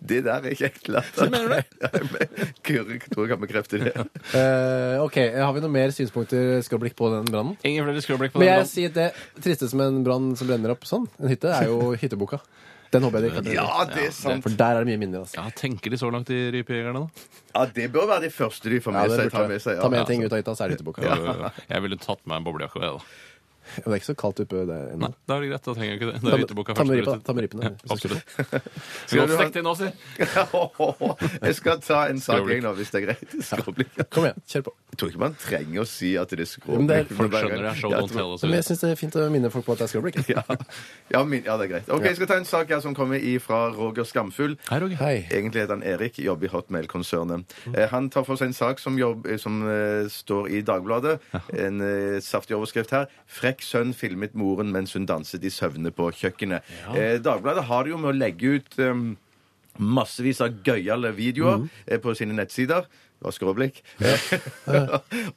Det der er ikke helt lett. Mener [laughs] du det? Kyrre tror jeg kan bekrefte det. Eh, ok, Har vi noen mer synspunkter skråblikk på den brannen? Ingen flere skråblikk på Men den. jeg sier at det tristeste med en brann som brenner opp sånn, en hytte, er [laughs] jo hytteboka. Den håper jeg dere kan brenne. Ja, det er sant. For der er det mye minner. altså. Ja, tenker de så langt, de rypejegerne, da? Ja, det bør være det første de får med det seg. burde Tar jeg. med seg ja. Ta med en [laughs] ting ut av hytta, så er det [laughs] hytteboka. Jo, jo, jo. Jeg ville tatt meg en boblejakke. jeg, da. Men Det er ikke så kaldt oppe der ennå. Nei, da er det greit. Da trenger jeg ikke det. Ta Da er med- ytterboka ta først. med ripa, ta med ripene. Absolutt. Skal du Skal du ha- stikke til nå, si? Jeg skal ta en sak Skråblikk. jeg nå, hvis det er greit. Skråblikk. Kom igjen, kjør på. Jeg tror ikke man trenger å si at det er Men det skråblikk. er- for Folk hver skjønner det gang. er show, Ja, don't tell. og Men så videre. jeg syns det er fint å minne folk på at det er skråblikk. [laughs] ja. Ja, min, ja, det er greit. Ok, Jeg skal ta en sak her som kommer ifra Roger Skamfull. Hei, Roger. Hei. Egentlig heter han Erik, jobber i Hotmail-konsernet. Eh, Han tar for seg en sak som, jobb, eh, som eh, står i Dagbladet. En eh, saftig overskrift her. 'Frekk sønn filmet moren mens hun danset i søvne på kjøkkenet'. Eh, Dagbladet har det jo med å legge ut eh, massevis av gøyale videoer Mm. eh, på sine nettsider. Det var skråblikk. [laughs]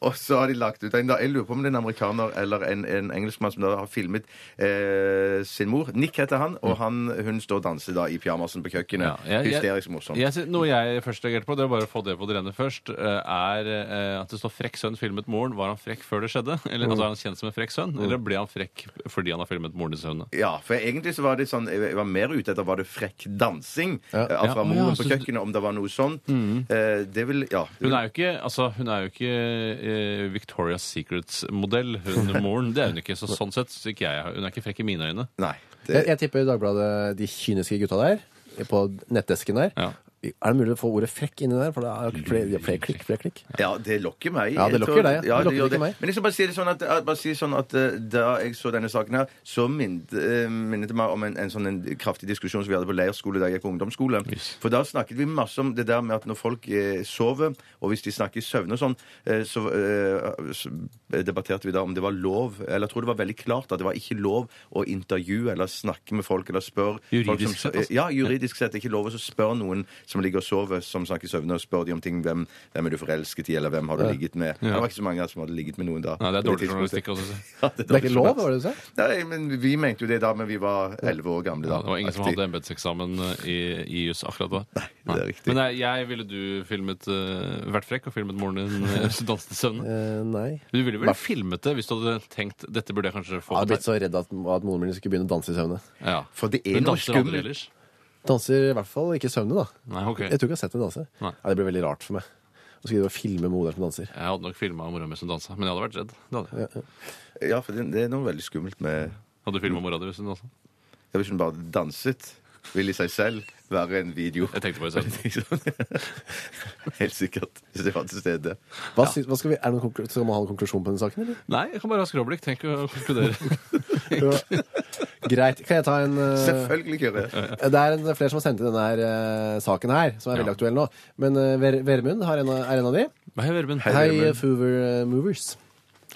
og så har de lagt ut en da, Jeg lurer på om det er en amerikaner eller en, en engelskmann som da har filmet eh, sin mor. Nick heter han, og han, hun står og danser da i pyjamasen på Mm. Ja, kjøkkenet. jeg- jeg- Hysterisk morsom. Jeg, sy- noe jeg først reagerte på, det er bare å få det på det rene først, eh, er eh, at det står 'frekk sønn filmet moren'. Var han frekk før det skjedde? Eller altså, Er han kjent som en frekk sønn? Eller ble han frekk fordi han har filmet moren i søvne? Ja, for egentlig så var det sånn Jeg var mer ute etter var det frekk dansing ja. Ja, fra ja, moren så på du- kjøkkenet, om det var noe sånt. Eh, det vil Ja. det Hun vil- er jo ikke, altså, hun er jo ikke eh, Victoria's Secrets-modell, hun moren. Det er hun ikke. Så sånn sett så ikke jeg. Hun er ikke frekk i mine øyne. Nei. Jeg, Det, jeg tipper Dagbladet, de kyniske gutta der, på nettdesken der Ja. Er det mulig å få ordet 'frekk' inni der? For det er jo flere, de har flere klikk, flere klikk. ja, det lokker meg. Ja, det Jeg tror- lokker deg. Ja, Det det lokker gjør ikke det. meg. Men jeg skal bare si det sånn at, at- bare si sånn at eh, da jeg så denne saken her, så minnet, eh, minnet det meg om en, en sånn en kraftig diskusjon som vi hadde på leirskole da jeg gikk på ungdomsskole. For da snakket vi masse om det der med at når folk eh, sover, og hvis de snakker i søvne og sånn, eh, så, eh, så debatterte vi da om det var lov, eller jeg tror det var veldig klart at det var ikke lov å intervjue eller snakke med folk eller spørre folk Juridisk som, sett, altså. Ja, juridisk sett. Det er ikke lov å spørre noen som ligger og sover, som snakker i søvne, og spørre dem om ting. Hvem, hvem er du forelsket i, eller hvem har du ligget med? Det var ikke så mange som hadde ligget med noen da. Nei, det er på dårlig tidspunktet. journalistikk. altså. Også. Ja, det, er Det er dårlig ikke lov, journalistikk. var det du sa? Nei, men vi mente jo det da, men vi var elleve år gamle da. Det var ingen som Aktig. hadde embetseksamen eh, i, i jus akkurat da. Nei, det er riktig. Men eh, jeg, jeg ville du filmet eh, vært frekk og filmet moren din eh, danset i søvne. Eh, nei. Du ville vel filmet det hvis du hadde tenkt dette burde jeg kanskje Jeg få har med blitt så redd at, at moren min skulle begynne å danse i søvne. meg?» Ja. For det er Hun noe danser aldri skummelt. ellers. Danser i hvert fall ikke i søvne, da. Nei, ok. Jeg tror ikke jeg har sett henne danse. Nei. Ja, det blir veldig rart for meg. Og så skulle jeg filme moderen som danser. Jeg hadde nok filma mora mi som dansa, men jeg hadde vært redd. Det hadde. jeg. Ja, for det, det er noe veldig skummelt med hadde du filma mora di hvis hun dansa? ja, Hvis hun bare danset, vil i seg selv være en video. Jeg tenkte [laughs] på det selv. Helt sikkert. Hvis det var til stede. Hva, syns- hva skal, vi, er det noen konklu- skal man ha en konklusjon på denne saken, [laughs] eller? Nei, jeg kan bare ha skråblikk. Tenk å konkludere. Greit. Kan jeg ta en eh, Selvfølgelig, Kyrre. Det er en, flere som har sendt inn denne her, eh, saken her, som er veldig Ja. aktuell nå. Men eh, Ver Vermund har en, av- er en av de. Hei, Vermund. Hei, Foover eh, Movers.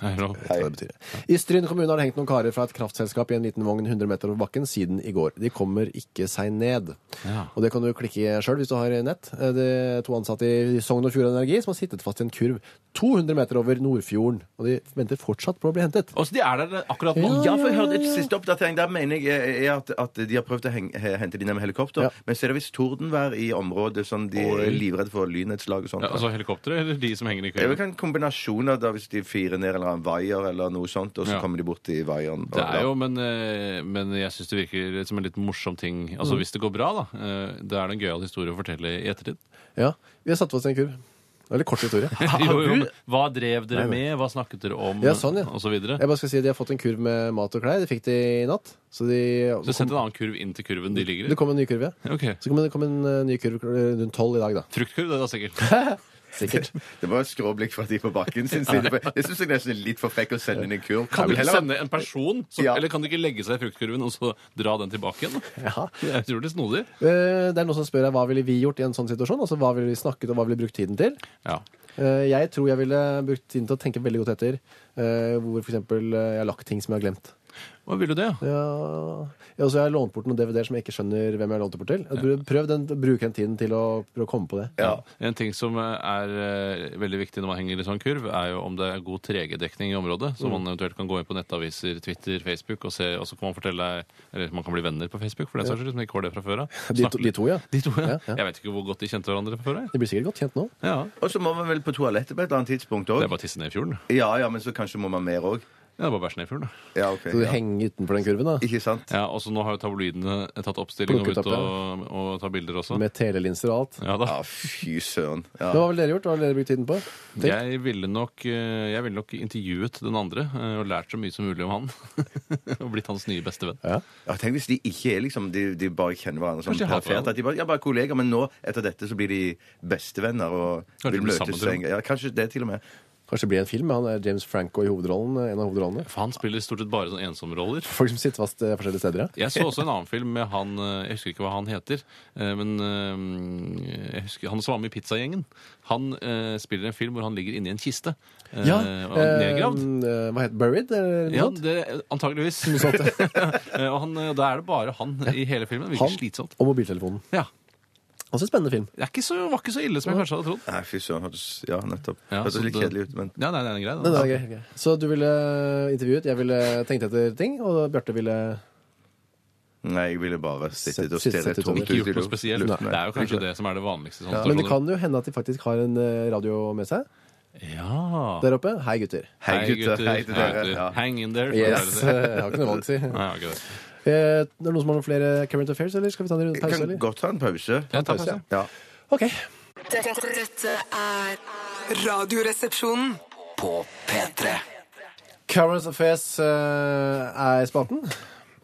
Hei, hallo. Hva det betyr. I Stryn kommune har det hengt noen karer fra et kraftselskap i en liten vogn 100 meter over bakken siden i går. De kommer ikke seg ned. Ja. Og det kan du klikke sjøl hvis du har nett. Eh, Det er to ansatte i Sogn og Fjord Energi som har sittet fast i en kurv 200 meter over Nordfjorden. Og de venter fortsatt på å bli hentet. Og så de er der eh, akkurat nå. Ja, for jeg hørte et siste oppdatering. Der mener jeg eh, er at, at de har prøvd å heng, he- hente de ned med helikopter. Ja. Men så er det visst tordenvær i området, sånn de Oi. er livredde for lynnedslag og sånt. Ja, altså helikopteret eller de som henger i det er vel køen? ikke en kombinasjon av da, hvis de firer ned en eller annen vaier eller noe sånt, og så Ja. kommer de bort til vaieren. Det er jo, men, eh, men jeg syns det virker litt som en litt morsom ting. Altså Hvis det går bra, da. eh, Da er det en gøyal historie å fortelle i [laughs] ettertid. Ja, vi har satt fast i en kurv. Det er litt kort historie. [laughs] Jo, jo, men hva drev dere med? Hva snakket dere om? Ja, sånn, ja. Og så videre. Jeg bare skal si at De har fått en kurv med mat og klær. De fikk det i natt. Så de Så sett en annen kurv inn til kurven de ligger Det i. kom en ny kurv, ja. Ok. Så kom det kom en eh, ny kurv rundt tolv i dag, da. Fruktkurv, det er da sikkert. [laughs] Sikkert. [laughs] Det var et skråblikk fra de på bakken sin side. for Jeg syns jeg nesten er litt for frekk å sende inn en kurv. Kan Jeg du vil ikke heller- sende en person? Som, Ja. Eller kan du ikke legge seg i fruktkurven og så dra den tilbake igjen? da? Ja. Det er utrolig snodig. Eh, Det er noen som spør deg hva ville vi gjort i en sånn situasjon. Altså Hva ville vi snakket og hva ville vi brukt tiden til? Ja. Eh, Jeg tror jeg ville brukt tiden til å tenke veldig godt etter. eh, Hvor f.eks. jeg har lagt ting som jeg har glemt. Hva vil du det? ja? Ja, ja, og så har jeg lånt bort noen DVD-er som jeg ikke skjønner hvem jeg har lånt det bort til. Jeg tror- Prøv den, bruk den tiden til å prøve å komme på det. Ja. En ting som er eh, veldig viktig når man henger i sånn kurv, er jo om det er god 3G-dekning i området. Mm. Så man eventuelt kan gå inn på nettaviser, Twitter, Facebook, og, se, og så kan man fortelle deg Eller man kan bli venner på Facebook, for den saks skyld, som ikke har det fra før av. De to, Snakke de litt- to, ja. [laughs] De to, ja. Ja, ja. Jeg vet ikke hvor godt de kjente hverandre fra før av. De blir sikkert godt kjent nå. Ja. Og så må man vel på toalettet på et eller annet tidspunkt Det òg. er bare å tisse ned i fjorden. Ja, ja, men så kanskje må man mer òg. Ja, det er bare å bæsje ned i fjorden, da. Ja, ok. Så du Ja. henger utenfor den kurven, da. Ikke sant? Ja, og så nå har jo tabloidene tatt oppstilling og Plukket ut opp, ja. og, og tar bilder også. Med telelinser og alt. Ja da. Ja, fy søren. Men Ja. hva ville dere gjort? Hva ville dere brukt tiden på? Tenk. Jeg ville, nok, eh, jeg ville nok intervjuet den andre eh, og lært så mye som mulig om han. [laughs] og blitt hans nye bestevenn. ja, Tenk hvis de ikke er liksom De, de bare kjenner hverandre sånn Kanskje de hater perfekt. At de bare, ja, bare kollegaer, men nå, etter dette, så blir de bestevenner og Kanskje vil de blir møtes. sammen, en- Ja, kanskje det, til og med. Kanskje det blir en film med han der James Franco i hovedrollen. eh, En av hovedrollene. For han spiller stort sett bare sånne ensomroller. Folk som sitter fast eh, forskjellige steder, ja. Jeg så også en annen film med han eh, Jeg husker ikke hva han heter. eh, Men eh, jeg husker, han som var med i Pizzagjengen. Han eh, spiller en film hvor han ligger inni en kiste. eh, og han er nedgravd. eh, hva heter Buried? Eller noe Ja, sånt? det, [laughs] antageligvis. [laughs] Eh, og han, eh, da er det bare han i hele filmen. Det Han Virker slitsomt. og mobiltelefonen. Ja. Også en spennende film. Det er ikke så, var ikke så ille som jeg kanskje hadde trodd. Nei, fy søren. hørtes- Ja, nettopp. Ja, Hørtes så litt det- kjedelig ut, men Ja, nei, det er en greie. Men da. det er gøy. Så du ville intervjuet, jeg ville tenkt etter ting, og Bjarte ville Nei, jeg ville bare sittet og Sitt- sitte stirret tomt tomt ut ut Ikke i gjort noe lu- spesielt. luften. Det er jo kanskje det som er det vanligste. sånn i Sånne Men det situasjoner. kan jo hende at de faktisk har en eh, radio med seg Ja. der oppe. Hei, gutter. Hei, gutter. Hei til dere. gutter. Ja. Hang in there. Sånn Yes. [laughs] Nei, [laughs] Jeg har ikke noe valg, si. jeg har ikke det. Eh, Er det noen som har noen flere current affairs, eller skal vi ta en runde Jeg pause, kan eller? godt ta en pause. Jeg tar pause. Ja. OK. Dette, dette er Radioresepsjonen. På P3 Current affairs eh, er spalten,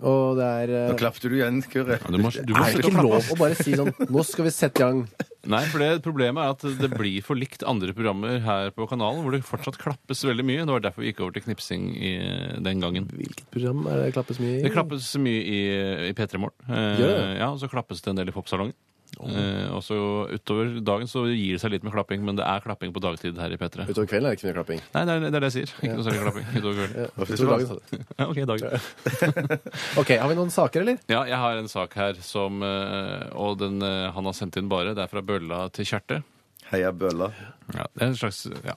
og det er eh, Nå klappte du igjen, Kyrre. Ja, Du må, du må er det slutte å ikke klappe. lov å bare si sånn Nå skal vi sette i gang. Nei, for det Problemet er at det blir for likt andre programmer her på kanalen, hvor det fortsatt klappes veldig mye. Det var derfor vi gikk over til knipsing i, den gangen. Hvilket program er det klappes mye i? Det klappes mye i, i P3 Morgen. Eh, Gjør det? ja, og så klappes det en del i popsalongen. Eh, og så utover dagen så gir det seg litt med klapping, men det er klapping på dagtid her i P3. Utover kvelden er det ikke så mye klapping. Nei, det er det, er det jeg sier. Ikke noe særlig klapping utover kvelden. Ja, utover dagen, sa du. sånn? Ja, [laughs] ok, dag. OK, har vi noen saker, eller? Ja, jeg har en sak her som eh, Og den eh, han har sendt inn bare. Det er fra Bølla til Kjerte. Heia bølla. Ja, det er en slags, ja.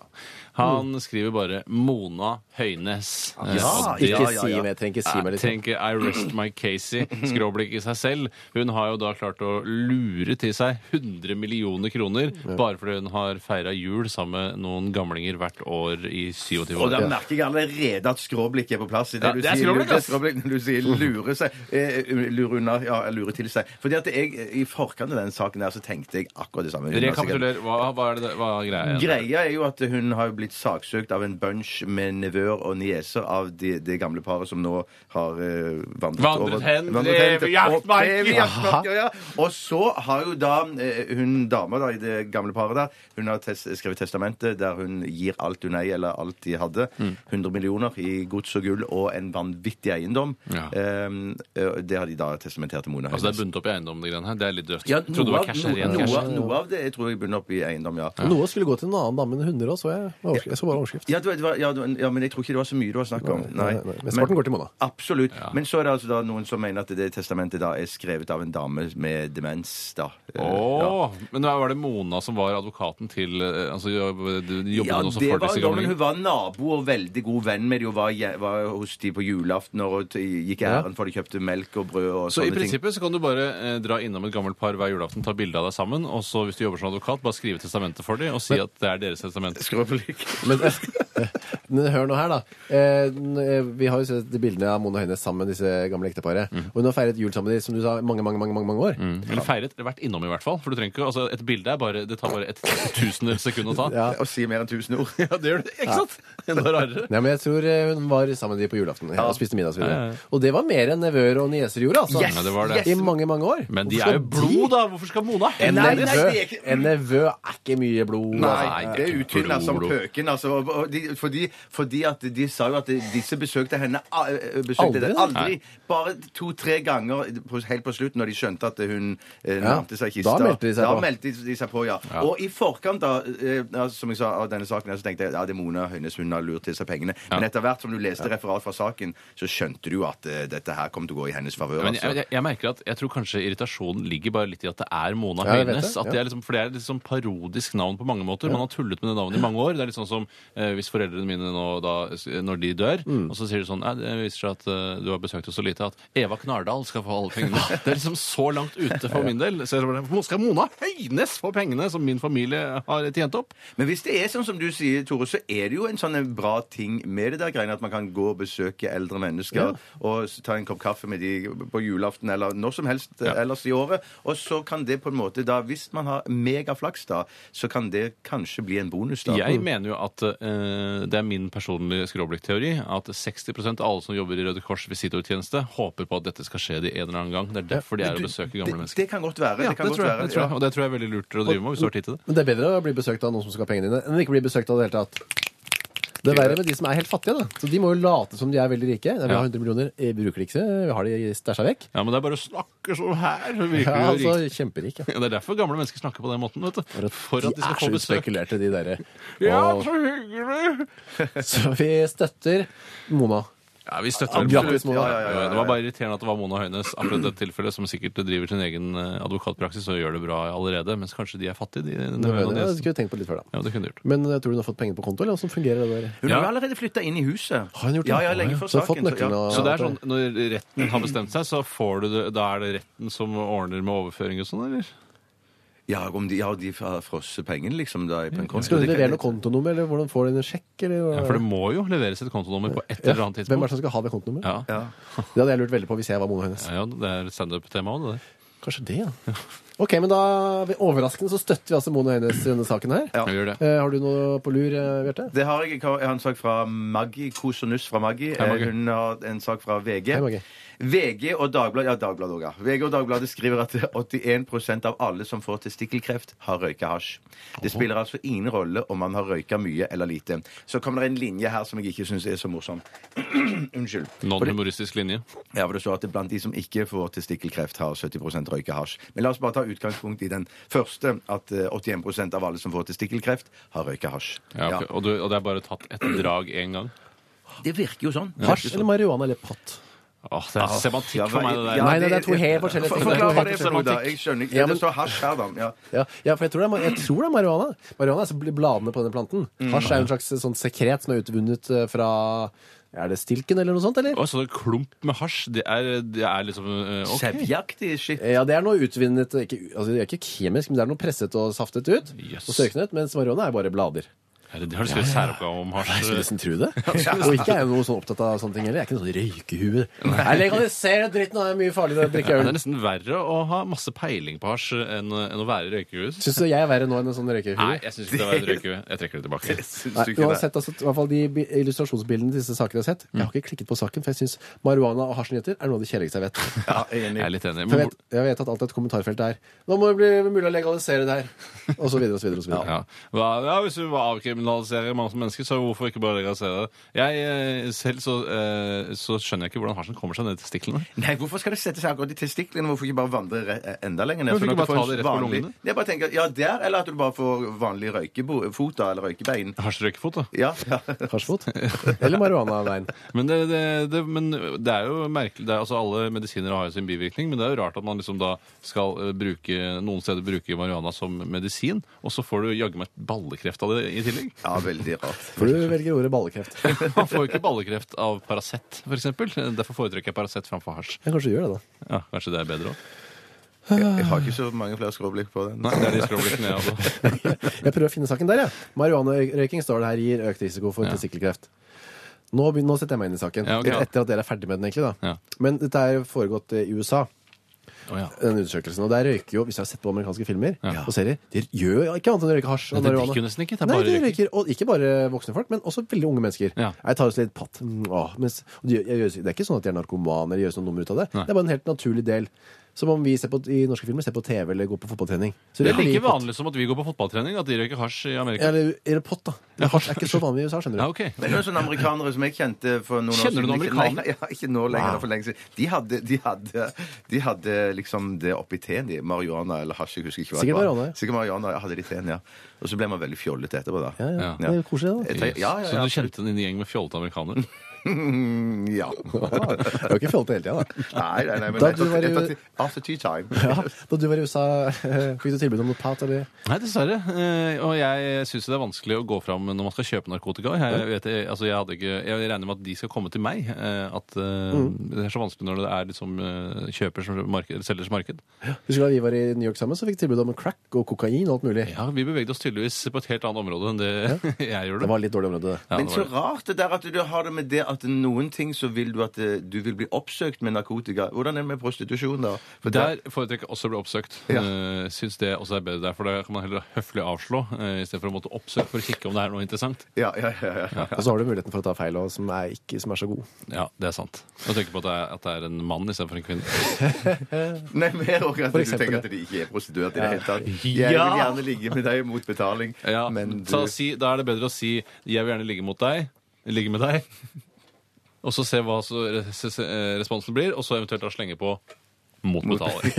Han skriver bare Mona Høines. Eh, Mm. Ah, Ja, og det ja, Ikke ja, si ja. mer. Trenger ikke si er- mer. Liksom. Trenger ikke I rest my Casey, skråblikk i seg selv. Hun har jo da klart å lure til seg 100 millioner kroner bare fordi hun har feira jul sammen med noen gamlinger hvert år i 27 Og år. da merker jeg allerede at skråblikket er på plass. i Ja, du det er sier, skråblikk, det er ass. skråblikk når du sier 'lure seg'. eh, Lure unna, ja, lure til seg. Fordi at jeg, eh, I forkant av den saken der så tenkte jeg akkurat det samme. Hun har sikkert- Rekapituler. Hva, hva er det hva er greia? igjen? Greia er jo at hun har jo blitt saksøkt av en bunch med nevøer og nieser av det de gamle paret som nå har eh, vandret, Vandret over hen til evig Og, jaktmarker. evig jaktmarker, ja. og så har jo da eh, hun dama da, i det gamle paret der, hun har tes skrevet testamentet der hun gir alt hun eier, eller alt de hadde. Mm. 100 millioner i gods og gull og en vanvittig eiendom. Ja. Eh, eh, det har de da testamentert til Mona Altså Det er Høines. bundet opp i eiendom, det greiene her. Det er litt drøft. Ja, Trodde det noe, var av- cash noe, eller ren cash. noe, noe av det jeg tror jeg bunner opp i eiendom, ja. Noe skulle gå til en annen dame enn hunder òg, så jeg. Overskrift- Jeg så bare overskrift. Ja, det var- det var, ja, det var- ja, men jeg tror ikke det var så mye det var snakk om. Nei, nei, men sparten går til Mona. Absolutt. Men så er det altså da noen som mener at det testamentet da er skrevet av en dame med demens. da. Eh, ja. Åh, Men da var det Mona som var advokaten til eh, altså, jo- du Jobbet Ja, hun også det for var disse jo, men gamlingene? Hun var nabo og veldig god venn med dem og var, je- var hos dem på julaften og t- gikk Ja. ærend for de kjøpte melk og brød og Så i sånne ting. prinsippet så kan du bare eh, dra innom et gammelt par hver julaften, ta bilde av deg sammen, og så hvis du jobber som advokat, bare skrive testamentet for dem og si at det er deres testament. Skråblikk. Men, [laughs] men hør nå her, da. Eh, n- eh, Vi har jo sett de bildene av Mona Høines sammen med disse gamle ekteparet. Og hun har feiret jul sammen med dem, som du sa, mange, mange, mange, mange, mange år. Mm. Eller feiret, eller vært innom i hvert fall. For du trenger ikke, altså Et bilde er bare, det tar bare et tusende sekund å ta. Ja. Og si mer enn tusen ord. [laughs] Ja, det gjør det, ikke sant? Enda rarere. Nei, men jeg tror eh, hun var sammen med dem på julaften og spiste middag. Og, så videre. og det var mer enn nevøer og nieser gjorde, altså. Ja, det var det. I mange, mange år. Men de Hvorfor er jo skal blod, da! Hvorfor skal Mona En Nei, henvendes? nei, nevø, det er ikke- en nevø er ikke mye blod. Nei, Nei, det det er er utynna blod, som blod. pøken. Altså, og- og de, fordi, fordi at de sa jo at de- disse besøkte henne a- ø, besøkte Aldri, det da? aldri. Bare to-tre ganger på, helt på slutten, når de skjønte at hun eh, nærmte seg Da kista. meldte de seg Da på. meldte de seg på, ja. Og i forkant da, eh, altså, som jeg sa, av denne saken, her, så tenkte jeg ja, det er Mona Høines, hun har lurt til seg pengene. Men etter hvert som du leste referat fra saken, så skjønte du jo at eh, dette her kom til å gå i hennes favør. Men jeg, Altså. jeg, jeg merker at jeg tror kanskje irritasjonen ligger bare litt i at det er Mona Ja, jeg vet Høines. det, at det er liksom, for det er et litt sånn parodisk navn på mange måter. Man har tullet med det navnet i mange år. Det er litt sånn som eh, hvis foreldrene mine nå, da, s- når de dør, Mm. og så sier de sånn «Nei, Det viser seg at eh, du har besøkt oss så lite at Eva Knardal skal få [laughs] alle pengene. Det er liksom så langt ute for min del. Så jeg bare, «Hvor skal Mona Høines få pengene som min familie har tjent opp? Men hvis det er sånn som du sier, Tore, så er det jo en sånn en bra ting med det der greiene at man kan gå og besøke eldre mennesker og s- ta en kopp kaffe med de på julaften eller når som helst eh, ellers i året. Og så kan det på en måte da, hvis man har megaflaks da, så kan det kanskje bli en bonus da. Mm. Jeg mener jo at eh, det er min personlige skråblikkteori at 60 av alle som jobber i Røde Kors visitortjeneste, håper på at dette skal skje de en eller annen gang. Det er derfor de er Du, og besøker gamle det, mennesker. det kan godt være. Ja, det kan det godt tror jeg, være. det tror jeg. ja. Og det tror jeg er veldig lurt å drive med hvis du har tid til det. Men det er bedre å bli besøkt av noen som skal ha pengene dine, enn å ikke bli besøkt av det hele tatt. Det er verre med de som er helt fattige. da. Så De må jo late som de er veldig rike. Nei, vi har Ja. 100 millioner, eh, bruker de ikke, vi har de stæsja vekk. Ja, men det er bare å snakke sånn her. så virker Ja, det jo altså, riktig. kjemperik. Ja. Ja, det er derfor gamle mennesker snakker på den måten. vet du. For at de skal er få så besøk. utspekulerte, de [laughs] derre. Ja, Og- så hyggelig! Så vi støtter Mona. Ja, vi støtter vel Ja, Mona. grattis, Mona. Ja, ja, ja, ja, ja. Det var bare irriterende at det var Mona Høines, akkurat dette tilfellet, som sikkert driver sin egen eh, advokatpraksis og gjør det bra allerede, mens kanskje de er fattige, de Det var- det nevnerne. skulle jeg tenkt på litt før, da. Ja, det kunne de gjort. Men eh, tror du hun har fått penger på konto, eller hvordan fungerer det der? Hun Ja. har allerede flytta inn i huset. Har hun gjort det? Ja, ja, lenge før Så hun har fått saken. så- nøkkelen ja. og- Så det er sånn, Når retten har bestemt seg, så får du det, da er det retten som ordner med overføring og sånn, eller? Ja, om de, ja, de har frosset pengene, liksom, da, i- på en konto. Skal hun Det kan- levere noe kontonummer, eller hvordan får hun en sjekk? Eller, Ja, For det må jo leveres et kontonummer på et Ja, eller annet Hvem er det tidspunkt. som skal ha det kontonummeret? Ja, ja, Ja. Det hadde jeg lurt veldig på hvis jeg var Mona Høines. ja det er standup-tema òg, det der. Kanskje det, ja. Ok, men da, ved overraskende, så støtter vi altså Mona Høines i denne saken her. Ja. Vi gjør det. Eh, har du noe på lur, eh, Bjarte? Det har jeg. Jeg har jeg har en sak fra Maggi. Kos og nuss fra Maggi. Hei, Maggi. Eh, Hun har en sak fra VG. Hei, Maggi. VG og Dagbladet ja, Dagbladet også, ja. VG og Dagbladet skriver at 81 av alle som får testikkelkreft, har røyka hasj. Det spiller altså ingen rolle om man har røyka mye eller lite. Så kommer det en linje her som jeg ikke syns er så morsom. [clears throat] Unnskyld. Non-humoristisk linje. Ja, for det står at det blant de som ikke får testikkelkreft, har 70 røyka hasj. Men la oss bare ta utgangspunkt i den første, at eh, 81 av alle som får testikkelkreft, har røyka hasj. Ja, ok. og, du, og det er bare tatt et drag én gang. Det virker jo sånn. Hasj eller marihuana eller patt? Åh, det er semantikk Ja, for meg, det der. ja, Nei, nei, det er to helt forskjellige For- ting. Forklar hva Det er det to er helt for noe, da. forskjellige Jeg skjønner ikke. Ja, men- Det står hasj her, da. Ja. Ja, ja for jeg tror, det er, ma- jeg tror det er marihuana. Marihuana er så bl- bladene på den planten. Hasj er jo en slags eh, sånn sekret som er utvunnet eh, fra Er det stilken eller noe sånt, eller? Og så en klump med hasj. Det er, det er liksom eh, ok. Sevjaktig shit. Ja, det er noe utvinnet ikke, altså Det er ikke kjemisk, men det er noe presset og saftet ut. Yes. Og søknet, mens marihuana er bare blader. Er det- Har du skrevet særoppgave om Jeg hasj? skulle nesten tro det. Og ikke er jeg noe sånn opptatt av sånne ting heller. Jeg er ikke noe sånn røykehue. Jeg legaliserer dritten, og det er mye farligere å drikke Ja, det øl. er nesten verre å ha masse peiling på hasj enn, enn å være i røykehus. Syns du jeg er verre nå enn en sånn røykehue? Nei, jeg syns ikke det var et røykehue. Jeg trekker det tilbake. Syns du Nei, ikke det? uansett, altså, i hvert fall de bi- illustrasjonsbildene disse sakene jeg har sett Jeg Mm. har ikke klikket på saken, for jeg syns marihuana og hasjnyheter er noe av det kjedeligste jeg vet. [laughs] Ja, jeg er Jeg er enig. litt enig. For jeg Men, vet, jeg vet at alt er et kommentarfelt der. Nå må det bli mulig å legalisere det her. Og så videre og så videre. Og så hvor- videre. ja. Hva- ja, hvis vi avkriminaliserer mange som mennesker, så hvorfor ikke bare legalisere det? Jeg eh, selv så, eh, så skjønner jeg ikke hvordan hasjen kommer seg ned i testiklene. Nei, Hvorfor skal det settes akkurat i testiklene? Hvorfor ikke bare vandre re- enda lenger ned? Hvorfor sånn ikke at du bare får ta det en rett på vanlig- lungene? Jeg bare tenker, ja, der, Eller at du bare får vanlig røykefot da, eller røykebein. Hasjrøykefot, da. Ja, ja. [laughs] Hasjfot. Eller marihuana veien. Men det, det, det, men det er jo merkelig det er, altså Alle medisiner har jo sin bivirkning, men det er jo rart at man liksom da skal eh, bruke noen steder bruke marihuana som medisin, og så får du jaggu meg ballekreft av det i tillegg. [laughs] ja veldig rart. For du velger ordet ballekreft. Man får jo ikke ballekreft av Paracet, f.eks. Derfor foretrekker jeg Paracet framfor hasj. Jeg kanskje gjør det, da. Ja, kanskje det er bedre òg. Jeg, jeg har ikke så mange flere skråblikk på den. Nei, det er de skråblikkene jeg hadde. Jeg prøver å finne saken der, jeg. Ja. Marihuanarøyking står det her gir økt risiko for testikkelkreft. Nå, begyn- nå setter jeg meg inn i saken. Ja, ok, ja. Etter at dere er ferdig med den, egentlig. da. Ja. Men dette er foregått eh, i USA. Å, ja. denne undersøkelsen. Og der røyker jo, hvis du har sett på amerikanske filmer Ja. og serier, de gjør jo ikke annet enn å røyke hasj. og Nei, de marihuana. drikker jo nesten ikke, det er Nei, bare de røyking. røyker. Og ikke bare voksne folk, men også veldig unge mennesker. Ja. Jeg tar også litt patt. Mm, åh, mens, og de, gjør- jeg, gjør- det er ikke sånn at de er narkomane eller gjør noe nummer ut av det. Nei. Det er bare en helt naturlig del. Som om vi ser på, i norske filmer ser på TV eller går på fotballtrening. Så Det er røyker de like patt. vanlig som at vi går på fotballtrening, at de røyker hasj i Amerika. Eller, eller pott, [laughs] da. Men Hasj er ikke så vanlig i USA, skjønner du. Ja, ok. Det er noen sånne amerikanere som jeg kjente for noen Kjenner du år noen siden. amerikanere? Nei, [laughs] ja, ikke nå lenger, for lenge siden. De hadde, de hadde, de hadde liksom det oppi teen, de. Marihuana eller hasj, jeg husker ikke hva Sikkert det var. marihuana, ja. Sikkert marihuana, ja, hadde de teen, ja. Og så ble man veldig fjollete etterpå, da. Ja, ja. Ja. Det er jo koselig, da. Jeg tenker- ja, ja, ja. Så du kjente den inn i gjeng med fjollete amerikanere? Mm, ja. Ah, [laughs] det er jo ikke fjollete hele tida, [laughs] da. Nei, nei, nei, men Da jeg du var tar- jeg i- tar til- After tea time. Ja, da du var i USA, [laughs] fikk du tilbud om noe pat? Eller? [laughs] Nei, dessverre. Eh, Og jeg syns det er vanskelig å gå fram når man skal kjøpe narkotika. Jeg, vet, jeg- altså jeg, hadde ikke, jeg regner med at de skal komme til meg. eh, At eh, Det er så vanskelig når det er liksom eh, kjøpers marked, selgers marked. Husker du da vi var i New York sammen, så fikk vi tilbud om crack og kokain og alt mulig. Ja, Vi bevegde oss tydeligvis på et helt annet område enn det [laughs] jeg gjorde. Det var litt dårlig område, det. Ja, [laughs] Men det så var det. rart det der at du har det med det at noen ting så vil du at eh, du vil bli oppsøkt med narkotika. Hvordan er det med prostitusjon, da? For Der foretrekker jeg også å bli oppsøkt. Ja. Ja. Syns det også er bedre der, for da kan man heller høflig avslå eh, i stedet for å måtte oppsøke for å kikke om det er noe interessant. Ja, ja, ja, ja, ja. Og så har du muligheten for å ta feil også, som er ikke som er så god. Ja, det er sant. Og tenke på at det er, at det er en mann istedenfor en kvinne. Nei, mer også at For du eksempel, tenker ja. at de ikke er prostituerte i det hele tatt. Jeg Ja. vil gjerne ligge med deg mot betaling, Ja, men du så si, Da er det bedre å si 'jeg vil gjerne ligge mot deg', ligge med deg, [laughs] og så se hva så res- se- eh, responsen blir, og så eventuelt da slenge på mot betaling.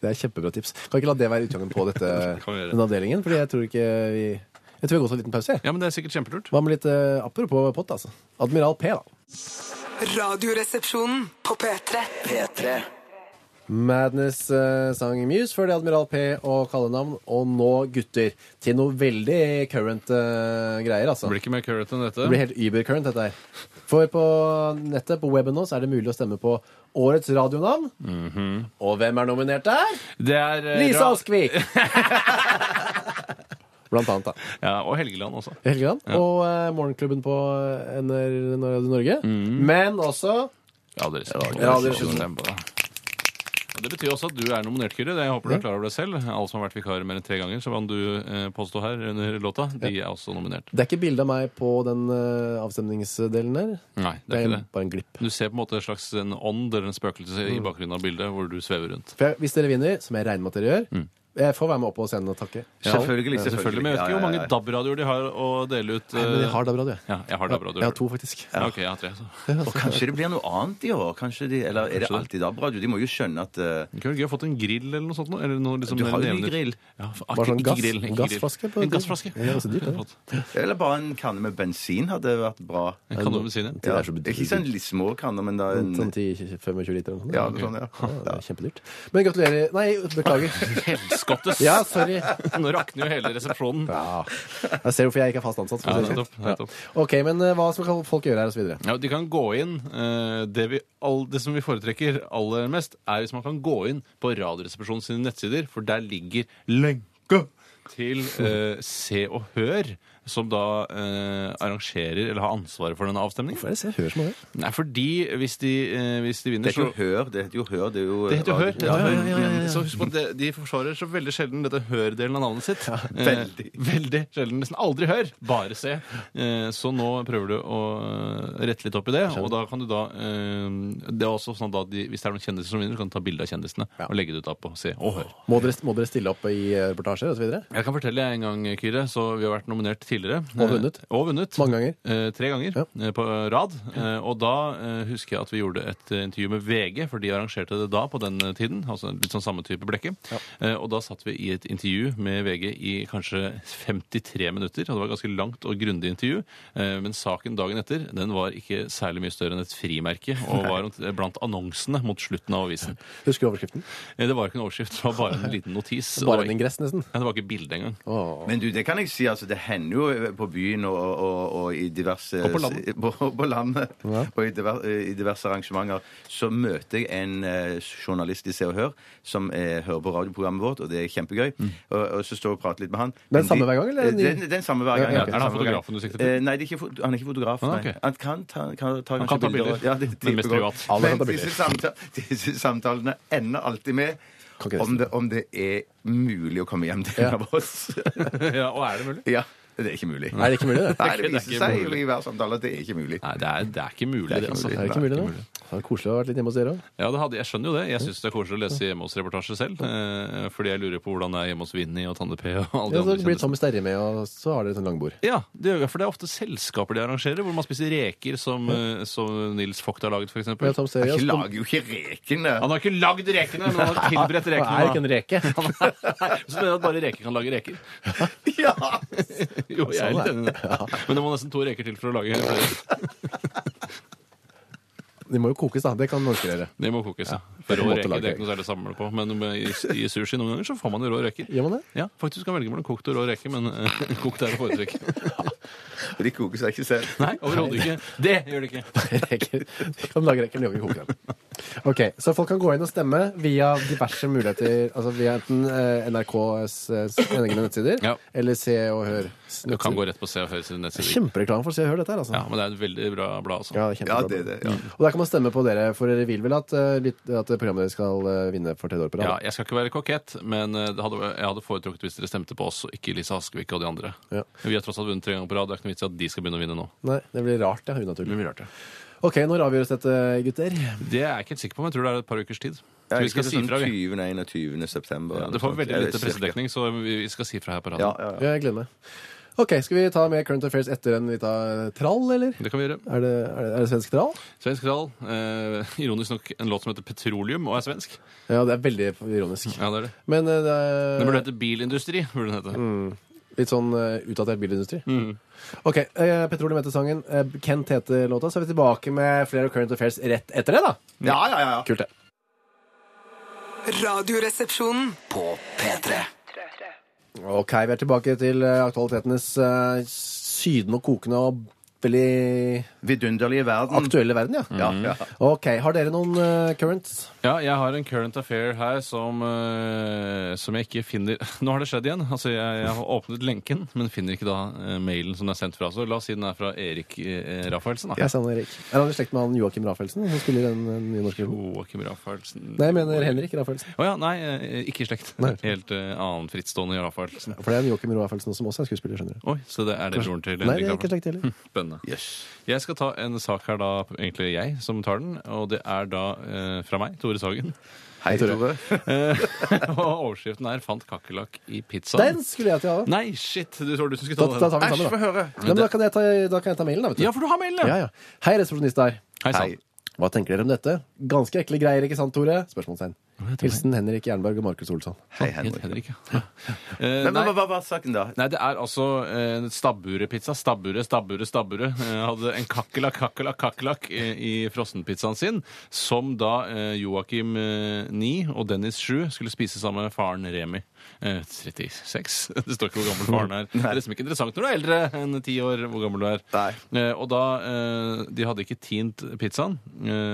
Det er kjempebra tips. Kan ikke la det være utgangen på dette, [laughs] Kan vi gjøre. denne avdelingen, fordi jeg tror ikke vi Jeg tror vi har gått en liten pause. jeg. Ja, men det er sikkert kjempelurt. Hva med litt eh, apropos pott, altså? Admiral P, da. Radioresepsjonen på P3. P3 Madness eh, sang Muse før det Admiral P og kallenavn, og nå gutter. Til noe veldig current eh, greier, altså. Det blir ikke mer current enn dette. Det blir helt übercurrent, dette her. For på nettet, på weben nå, så er det mulig å stemme på årets radionavn. Og hvem er nominert der? Det er Mhm. eh, Lise ra- [laughs] Askvik! Blant annet, da. Ja, og Helgeland også. Helgeland. Og eh, Morgenklubben på eh, NR Radio Norge. Mhm. Men også Radioresepsjonen. Radioresepsjonen. Stem på det. Og Det betyr også at du er nominert, Kyrre. Det- Jeg håper du er klar over det selv. Alle som har vært vikarer mer enn tre ganger, som du eh, påstå her under låta, de er også nominert. Det er ikke bilde av meg på den eh, avstemningsdelen der. Nei, det er ikke det. bare en glipp. Du ser på en måte en slags en ånd eller en spøkelse Mm. i bakgrunnen av bildet hvor du svever rundt. For jeg, hvis dere vinner, som jeg regner med at dere gjør, jeg får være med opp på scenen og takke. Selvfølgelig. Mm. Ja, selvfølgelig, Men jeg vet ikke hvor mange DAB-radioer de har å dele ut. eh, Nei, men jeg har DAB-radio, jeg. ja, jeg har DAB-radioer. Jeg har to, faktisk. Ja, ok, jeg har tre. altså. Så. Og kanskje det blir noe annet i år? Kanskje de, eller er det Kanskje det. alltid DAB-radio? De må jo skjønne at eh, Det kunne vært gøy å fått en grill eller noe sånt. nå, Eller noe, liksom, Du har jo ny nevner- grill. Ja, for, Bare sånn ikke gass- grill, ikke grill. gassflaske på- En gassflaske. Ja, det er så dyrt, det. Flott. Eller bare en kanne med bensin hadde vært bra. En kanon med sine. Det Ja. er så Ikke sånn litt små kanner, men da en, Sånn 10-25 liter eller noe. ja, sånn, ja. Ja, det er kjempedyrt. Men gratulerer. Nei, beklager. Helskottes! [laughs] Ja, sorry. [laughs] Nå rakner jo hele resepsjonen. Ja. Jeg ser hvorfor jeg ikke er fast ansatt. for å Ja, si det nettopp, sånn. nettopp. Ja. Ok, men eh, hva skal folk gjøre her, og så videre? Ja, de kan gå inn. eh, Det, vi, all, det som vi foretrekker aller mest, er hvis man kan gå inn på Radioresepsjonen sine nettsider, for der ligger lenka til eh, Se og Hør, som da eh, arrangerer eller har ansvaret for denne avstemningen. Hva er det jeg hører som over? Nei, fordi hvis de, eh, hvis de Det vinner, heter jo så hør. Det heter jo hør. Det, er jo, det heter jo Hør. radio. det heter Hør. Så husk på at det- De forsvarer så veldig sjelden dette Hør-delen av navnet sitt. veldig. Eh, veldig sjelden. Nesten aldri Hør, bare se. Eh, så nå prøver du å eh, rette litt opp i det. Og da kan du da eh, Det er også sånn da at de, Hvis det er noen kjendiser som vinner, så kan du ta bilde av kjendisene og legge det ut da på Se og Hør. Må dere, må dere stille opp i eh, reportasjer og så videre? Jeg kan fortelle en gang, Kyrre, så vi har vært nominert tidligere. Og vunnet. Eh, Og vunnet. Mange ganger. Eh, tre ganger Ja. eh, på rad. Eh, og da eh, husker jeg at vi gjorde et eh, intervju med VG, for de arrangerte det da på den eh, tiden. Altså litt sånn samme type blekke. Eh, og da satt vi i et intervju med VG i kanskje 53 minutter. Og det var et ganske langt og grundig intervju. Eh, men saken dagen etter den var ikke særlig mye større enn et frimerke, og var omtrent- blant annonsene mot slutten av avisen. Husker du overskriften? Eh, det var ikke en overskrift, det var bare en liten notis. Bare en det, var, ingress, nesten. ja, det var ikke bilde engang. Men du, det kan jeg si, altså, det hender jo på byen og, og, og i diverse Og på landet. [laughs] på- på landet, og i diver- eh, i diverse arrangementer, så møter jeg en eh, journalist i Se og Hør som eh, hører på radioprogrammet vårt, og det er kjempegøy. Og, og så står jeg og prater litt med han. Men Mm. samme hver gang, eller er det Eh, ny? Den, den samme hver Ja, gang. ja, ja, ok. den Er det han samme hver gang. fotografen du sikter til? Eh, Nei, det er ikke, fot- han er ikke fotograf. Ah, Nei. ok. Han kan ta, kan, ta, kan ta kanskje bilder, Ja, det, det, men mest går. privat. Alle kan ta Men bilder. disse, samta [laughs] disse samtalene ender alltid med Kan ikke det om det, om det er mulig å komme hjem til en av oss. [laughs] ja, og er det mulig? Ja, det er ikke mulig. Nei, det er ikke mulig, det. Nei, Det det er viser ikke seg mulig. i hver samtale at det er ikke mulig. Nei, det er, det er ikke mulig. Det er ikke altså. mulig. Det er ikke mulig, det. Det er koselig å ha vært litt hjemme hos dere òg. Ja, det hadde, jeg skjønner jo det. Jeg syns det er koselig å lese hjemme hos reportasje selv. Eh, fordi jeg lurer på hvordan det er hjemme hos Vinni og Tande P og Ja, så alle de andre blir kjendisene. Tommy Sterre med, og så har dere sånn langbord. Ja, det gjør jeg, for det er ofte selskaper de arrangerer, hvor man spiser reker som, eh, som Nils Vogt har laget, f.eks. Ja, Tom Han Sterre, ja, Jeg så- lager jo ikke rekene. har ikke lagd rekene, men [laughs] han har tilberedt rekene. Han er ikke en [laughs] reke. [laughs] Så mener jeg at bare reker kan lage reker. [laughs] Ja. Jo, jeg Sånn er er litt enig i det. Men det må nesten to reker til for å lage flere. De må jo kokes, da. Det kan norske gjøre. Det må kokes. Ja. det er For en rå måte å reker lage det er ikke noe særlig å samle på. Men med- i, i sushi noen ganger så får man jo rå reker. Gjør man det? Ja, faktisk kan velge mellom kokt og rå reke, men eh, [laughs] kokt er å foretrekke. Og de koker seg ikke selv. Nei, overhodet ikke. Det gjør det ikke. Reker. De kan lage reker, men de kan ikke koke dem. Ok, Så folk kan gå inn og stemme via diverse muligheter. Altså via enten eh, NRKs eh, egne nettsider Ja. eller Se og Hør. Du kan gå rett på Se og Høyres nettsider. Kjempereklame for Se og Hør, dette her, altså. Ja, men det er et veldig bra blad, altså. Ja, Ja, kjempebra. det er det. Ja. Og der kan man stemme på dere, for dere vil vel at, eh, litt, at programmet deres skal eh, vinne for tredje år på Ja, rad? jeg skal ikke være kokett, men eh, det hadde, jeg hadde foretrukket hvis dere stemte på oss og ikke Lise Askevik og de andre. Ja. Vi har tross alt vunnet tre ganger på rad. Det er ikke noe vits i at de skal begynne å vinne nå. Nei, det blir rart, ja. Unaturlig. Det blir rart, ja. Ok, når avgjøres dette, gutter? Det er jeg ikke helt sikker på, men jeg tror det er et par ukers tid. Ja, Så vi skal si sånn fra, vi. 20. 21. september. Ja, eller det noe får sånt. veldig Eller lite cirka. pressedekning, så vi vi skal si fra her på Ja, raden. ja, ja. Ja, jeg gleder meg. Ok, Skal vi ta med Current Affairs etter en liten eh, trall, eller? Det kan vi gjøre. Er det, er det, er det svensk trall? Svensk Rall. Eh, ironisk nok en låt som heter Petroleum og er svensk. Ja, det er veldig ironisk. Ja, det er det. Men eh, det Den er burde hete Bilindustri. burde den hete. Litt sånn eh, utdatert bilindustri. Ok, eh, Petroleum heter sangen. eh, Kent heter låta. Så er vi tilbake med flere Current Affairs rett etter det, da. Ja, ja, ja. ja. Kult, det. Radioresepsjonen. På P3 Ok, vi er tilbake til eh, aktualitetenes eh, sydende og kokende og veldig Vidunderlige verden. aktuelle verden, ja. Mm. Ja, Mm. ja. Ok, Har dere noen eh, currents? Ja, jeg har en current affair her som, eh, som jeg ikke finner [laughs] Nå har det skjedd igjen. Altså, jeg, jeg har åpnet lenken, men finner ikke da eh, mailen som den er sendt fra. Så la oss si den er fra Erik eh, Rafaelsen. Da. Jeg savner Erik. Er han i slekt med han Joakim Rafaelsen? Som spiller den eh, nye norske filmen? Joakim Rafaelsen Nei, jeg mener Henrik Rafaelsen. Å ja, nei, eh, ikke i slekt. Nei. Helt eh, annen frittstående Rafaelsen. For det er en Joakim Rafaelsen som også er skuespiller, skjønner du. Oi, så det er det broren til Nei, det er ikke Rafaelsen. slekt [laughs] heller. Spennende. Yes. Jeg skal ta en sak her, da, egentlig jeg som tar den. Og det er da eh, fra meg, Tore Sagen. [laughs] Hei, Tore. Eh, og overskriften er 'Fant kakerlakk i pizzaen'. Den skulle jeg til å ha. Nei, shit! Du tror du som skulle Da, da ta den. tar vi Æsj, sammen, få da. høre. Nei, men da, kan jeg ta, da kan jeg ta mailen, da. vet du. Ja, for du har mailen, Ja, ja. Hei, resepsjonist der. Hei sann. Hei. Hva tenker dere om dette? Ganske ekle greier, ikke sant, Tore? Spørsmålstegn. Hilsen Henrik Jernberg og Markus Olsson. Hei, Helt Henrik. Henrik, ja. [laughs] Eh, Men, men, nei. hva var saken, da? Nei, det er altså eh, stabburepizza. Stabburet, stabburet, stabburet. Eh, hadde en kakerlakk, kakerlakk, kakerlakk eh, i frossenpizzaen sin, som da eh, Joakim eh, 9 og Dennis 7 skulle spise sammen med faren Remi. Eh, 36. [laughs] Det står ikke hvor gammel faren [laughs] er. Det er liksom ikke interessant når du er eldre enn 10 år hvor gammel du er. Nei. Eh, og da eh, De hadde ikke tint pizzaen,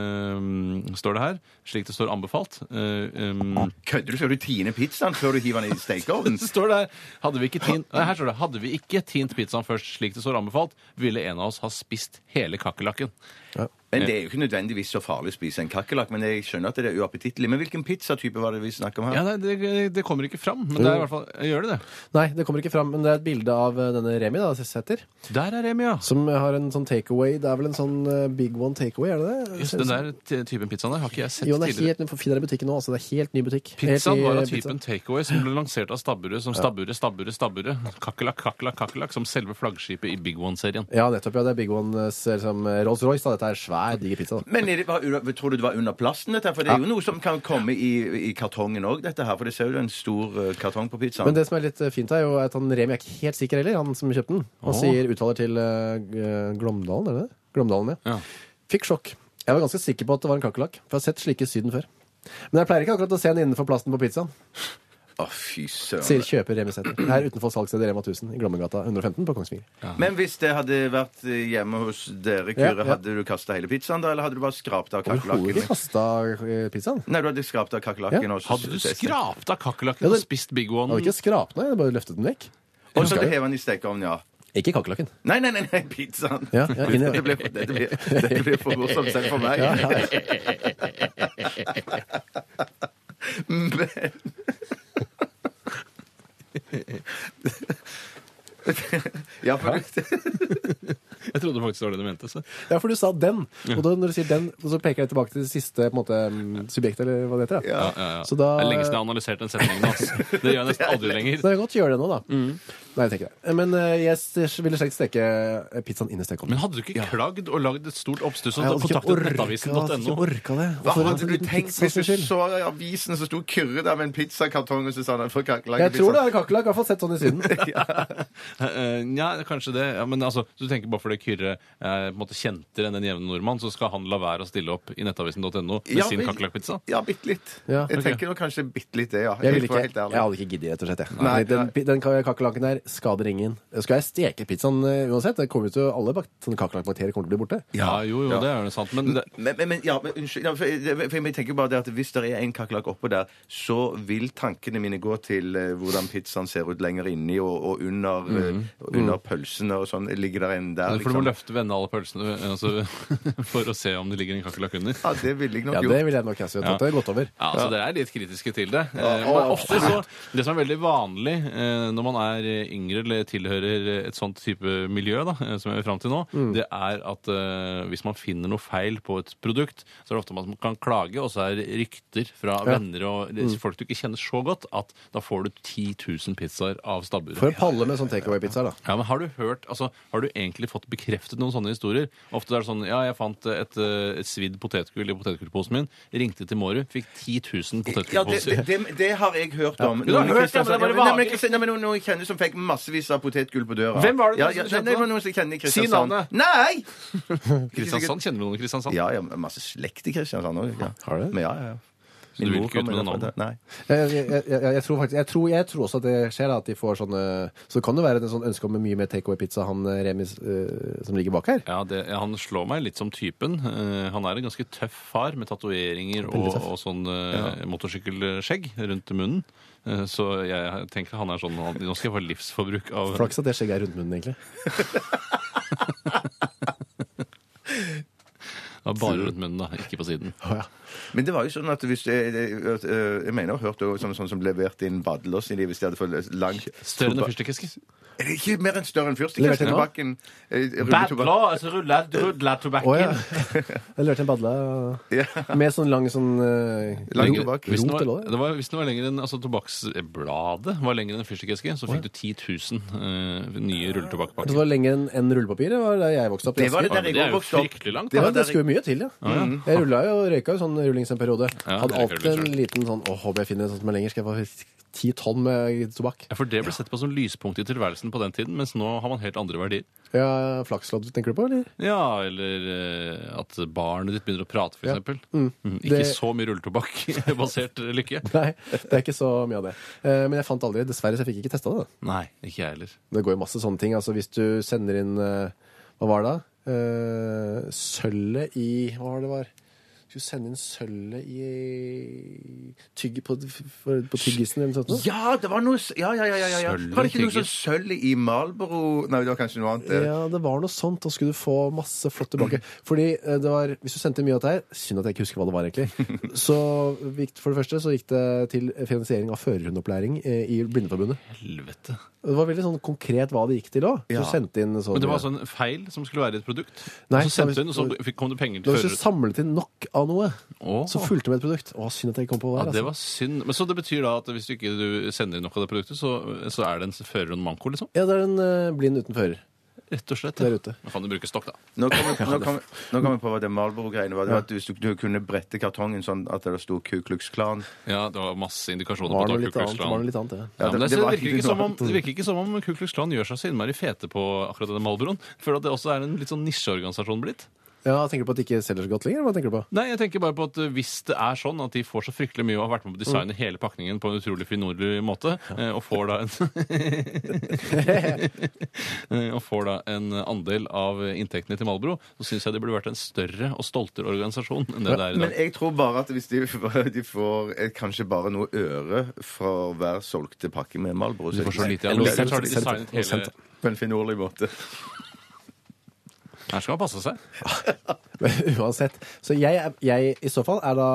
eh, står det her, slik det står anbefalt. Eh, um, Kødder du? Skal du tine pizzaen før du hiver den i stekeovnen? det står der. Hadde vi ikke tint, nei, her står det. Hadde vi ikke tint pizzaen først, slik det står anbefalt, ville en av oss ha spist hele kakerlakken. Men det er jo ikke nødvendigvis så farlig å spise en kakerlakk. Men jeg skjønner at det er uappetittlig. Men hvilken pizzatype var det vi snakker om her? Ja, nei, det, det kommer ikke fram, men det er i hvert fall Gjør det det? Nei, det kommer ikke fram, men det er et bilde av eh, denne Remi, da, Sæther, Der er Remi, ja. som har en sånn takeaway. Det er vel en sånn eh, big one takeaway, er det det? Just den der t- typen pizzaen der har ikke jeg sett Jo, den er tidligere. helt, den finner jeg i butikken nå, altså. Det er helt ny butikk. Pizzaen Helt ny, eh, var av typen pizza. takeaway som ble lansert av stabburet som stabburet, stabburet, stabburet. Kakerlakk, kakerlakk, kakerlakk som selve flaggskipet i Big One-serien. Ja, nettopp. ja, Det er Big One eh, liksom, eh, Rolls-Royce. da. Dette er svær, diger pizza. da. Men er det, var- tror du det var under plasten, dette? her? For det er jo noe som kan komme i, i kartongen òg, dette her. For det ser jo en stor eh, kartong på pizzaen. Men det som er litt eh, fint her, er jo at han Remi er ikke helt sikker heller, han som kjøpte den. Han Åh. sier uttaler til eh, G- Glåmdalen, er det det? Glåmdalen, ja. Ja. Fikk sjokk. Jeg var ganske sikker på at det var en kakerlakk, for jeg har sett slike i Syden før. Men jeg pleier ikke akkurat å se den innenfor plasten på pizzaen, Å, fy søren. sier kjøper Remi Sæther. Her utenfor salgsstedet Rema 1000 i Glåmgata 115 på Kongsvinger. Men hvis det hadde vært eh, hjemme hos dere, Ja, Kyrre, ja. hadde du kasta hele pizzaen da, eller hadde du bare skrapt av Overhodet ikke kakerlakken? kasta eh, pizzaen. Nei, du hadde skrapt av kakerlakken. Ja. og så- Hadde du skrapt av Ja, kakerlakken det- og spist Big Jeg One? hadde ikke skrapt den, jeg hadde bare løftet den vekk. Og så hadde du hevet den i stekeovnen, ja. Ikke kakerlakken. Nei, nei, nei, nei pizzaen! Ja, [laughs] ja, inn i- Dette blir, dette blir, dette blir for morsomt selv for meg. Men [laughs] Ja, for Jeg trodde faktisk det var det du mente. Så. Ja, for du sa den. Og da, når du sier den, så peker jeg tilbake til det siste på en måte, mm, subjektet, eller hva det heter. Ja. Ja, ja, ja. Så da, Det er lenge siden jeg har analysert den setningen. Altså. Det gjør jeg nesten aldri lenger. Så jeg kan godt gjøre det nå, da. Mm. Nei, jeg tenker det. Men eh, jeg s- ville slett steke eh, pizzaen inn i stekeovnen. Men hadde du ikke klagd og lagd et stort oppstuss Jeg og hadde ikke kontaktet orka- jeg hadde nettavisen.no? ikke [laughs] orka det. Hva For en hadde du liten tenkt pizza hvis sin du skyld. så i avisen så sto Kyrre der med en pizzakartong og så sa han for kakerlakken Jeg tror det er kakerlakk. i hvert fall Sett sånn i [laughs] Syden. Eh, Nja, kanskje det. Ja, men altså, du tenker bare fordi Kyrre er på en måte kjentere enn den jevne nordmann, så skal han la være å stille opp i nettavisen.no med Ja, sin men- kakerlakkpizza? Ja, bitte litt. Ja, Jeg ok. tenker nok kanskje bitte litt det, ja. Jeg, ville For ikke, å være helt jeg ærlig. hadde ikke giddet, rett og slett. Jeg. Nei, den den ka- kakerlakken der skader ingen. Skal jeg steke pizzaen eh, uansett? Det kommer jo til, alle bak- sånne kakerlakkbakterier kommer til å bli borte. Ja, jo, jo, Ja. det er jo sant. Men det, Men, men, men, ja, men unnskyld. Ja, for, jeg- for jeg tenker bare det at Hvis det er en kakerlakk oppå der, så vil tankene mine gå til eh, hvordan pizzaen ser ut lenger inni og, og under, eh, Mm. under pølsene og sånn. Ligger der en der, for du må liksom? løfte vende alle pølsene eh, altså, [laughs] for å se om det ligger en kakerlakk under. Ja, det ville jeg nok Ja, gjort. det ville jeg nok også gjort. Ja. Det er gått over. Ja, altså Dere er litt kritiske til det. Eh, Ja, men og- ofte så, Det som er veldig vanlig eh, når man er eh, yngre eller tilhører eh, et sånt type miljø, da, eh, som jeg er fram til nå, det er at eh, hvis man finner noe feil på et produkt, så er det ofte man kan klage, og så er det rykter fra venner og folk du ikke kjenner så godt, at da får du 10 000 pizzaer av stabburet. For en palle med sånn takeaway-pizza, da. Ja, men Har du hørt, altså, har du egentlig fått bekreftet noen sånne historier? Ofte er det sånn ja, jeg fant et, eh, et svidd potetgull i potetgullposen min, ringte til Mårud, fikk 10 000 Ja, det, potetgullposer. det, det, det har jeg hørt om. du har hørt det, men det er bare Nei, men vanlig. Kristian- nei, men noen jeg kjenner som fikk massevis av potetgull på døra. Hvem var det ja, som ja, kjøpte nei, det var noen som jeg kjenner i Si Kristiansand. navnet. Nei! Kristiansand, Kjenner du noen i Kristiansand? Ja, ja, masse slekt i Kristiansand òg. Ja. Har du det? Men ja, ja, ja. Så du vil ikke ut med noen navn? Nei. Jeg, jeg, jeg, jeg, tror faktisk, jeg, tror, jeg tror også at det skjer, da, at de får sånne Så det kan jo være et sånn ønske om mye mer takeaway-pizza, han eh, Remis eh, som ligger bak her. Ja, det, ja, Han slår meg litt som typen. Eh, han er en ganske tøff far med tatoveringer og, Veldig tøff. og sånn eh, motorsykkelskjegg rundt munnen. Eh, så jeg tenker han er sånn han, Nå skal jeg få livsforbruk av Flaks at det skjegget er rundt munnen, egentlig. Ja, Bare rundt munnen, da. Ikke på siden. Å, ja. Men det var jo sånn at hvis jeg, jeg, jeg mener jeg har hørt også sånn, sånn som leverte inn badelås i de hvis de hadde for lang Større enn en fyrstikkeske. Er det ikke mer enn større enn Leverte inn hva? fyrstikketobakken? altså ruller, ruller tobakken. Å, ja. [laughs] Jeg lurte en badla med sånn lang sånn eh, Lang rot- tobakk. Hvis den Rot, var, eller hva? det var, hvis den var lenger enn, altså Tobakksbladet var lenger enn en fyrstikkeske, så fikk du 10 000 eh, nye Så rulletobakkpakker. det var lenger enn enn rullepapir? Det var der jeg vokste opp. i Det var Asker. det der men jeg det er òg jo vokste opp. fryktelig langt, Det Ja, var men det der Mm. skulle jo mye til, ja. Jeg rulla jo og røyka jo sånn rullings en periode. Ja, Hadde jeg røyker alltid en rullings liten sånn Å, håper jeg finner en sånn som er lenger. Skal jeg få ti tonn med tobakk? Ja, for Det ble sett på som lyspunkt i tilværelsen på den tiden, mens nå har man helt andre verdier. Ja, Flakslodd tenker du på, eller? Ja, Eller eh, at barnet ditt begynner å prate, f.eks. Ja. eksempel Mm, ikke Det- så mye [laughs] rulletobakk-basert lykke. Nei, det er ikke så mye av det. Eh, Men jeg fant aldri Dessverre, så jeg fikk ikke testa det. Nei, ikke jeg heller. Det går jo masse sånne ting. Altså, hvis du sender inn eh, Hva var det da? Eh, Sølvet i Hva var det det var? Skulle sende inn sølvet i tygg, på, for- på tyggisen eller noe sånt? noe? Ja, det var noe s- Ja, ja, ja. ja, ja. Sølv i Var det ikke noe tygget. sånn sølv i Marlboro Nei, det var kanskje noe annet. eh. Ja, det var noe sånt. Da skulle du få masse flott tilbake. Fordi eh, det var, Hvis du sendte mye av det her Synd at jeg ikke husker hva det var, egentlig. Så gikk, for det første så gikk det til finansiering av førerhundopplæring eh, i Blindeforbundet. Helvete. Det var veldig sånn konkret hva det gikk til òg. Ja. Du sendte inn sånn Men det var altså en feil som skulle være i et produkt. Nei, og så sendte da- hun, og så fikk- kom det penger Da til Hvis du føreren. samlet inn nok av noe, Åh. så fulgte det med et produkt. Å, synd at jeg ikke kom på hva altså. Ja, det det var. var synd. Men Så det betyr da at hvis du ikke du sender inn nok av det produktet, så, så er det en fører og en manko, liksom? Ja, det er en eh, blind uten fører. Rett og slett. Der ute. Da kan du bruke stokk, da. Nå kom [laughs] jeg- nå kom jeg nå kom jeg på hva det Marlboro-greiene var. Det var at hvis du, du kunne brette kartongen sånn at det sto Ku Klux Klan Ja, det var masse indikasjoner Var det noe på at litt Ku Klux annet? Var det Klan litt annet, ja. ja, men det, det var- det, virker ikke som om, det virker ikke som om Ku Klux Klan gjør seg så innmari fete på akkurat denne Malbroen. Føler at det også er en litt sånn nisjeorganisasjon blitt. ja. Tenker du på at det ikke selger så godt lenger? eller Hva tenker du på? [laughs] Nei, jeg tenker bare på at eh, Hvis det er sånn at de får så fryktelig mye og har vært med på å designe Mm. hele pakningen på en utrolig finurlig måte, eh, og får [laughs] da en eh, [laughs] Og får da en andel av inntektene til Malbro, så syns jeg det burde vært en større og stoltere organisasjon enn det det er i Men dag. jeg tror bare at hvis de, [laughs] de får eh, kanskje bare noe øre fra hver solgte pakke med Marlboro Du får så lite av Eller- det. Selv så har de sendt- designet sendt- hele På en finurlig måte. Her skal man passe seg. Men uansett. Så jeg, er- jeg i så fall er da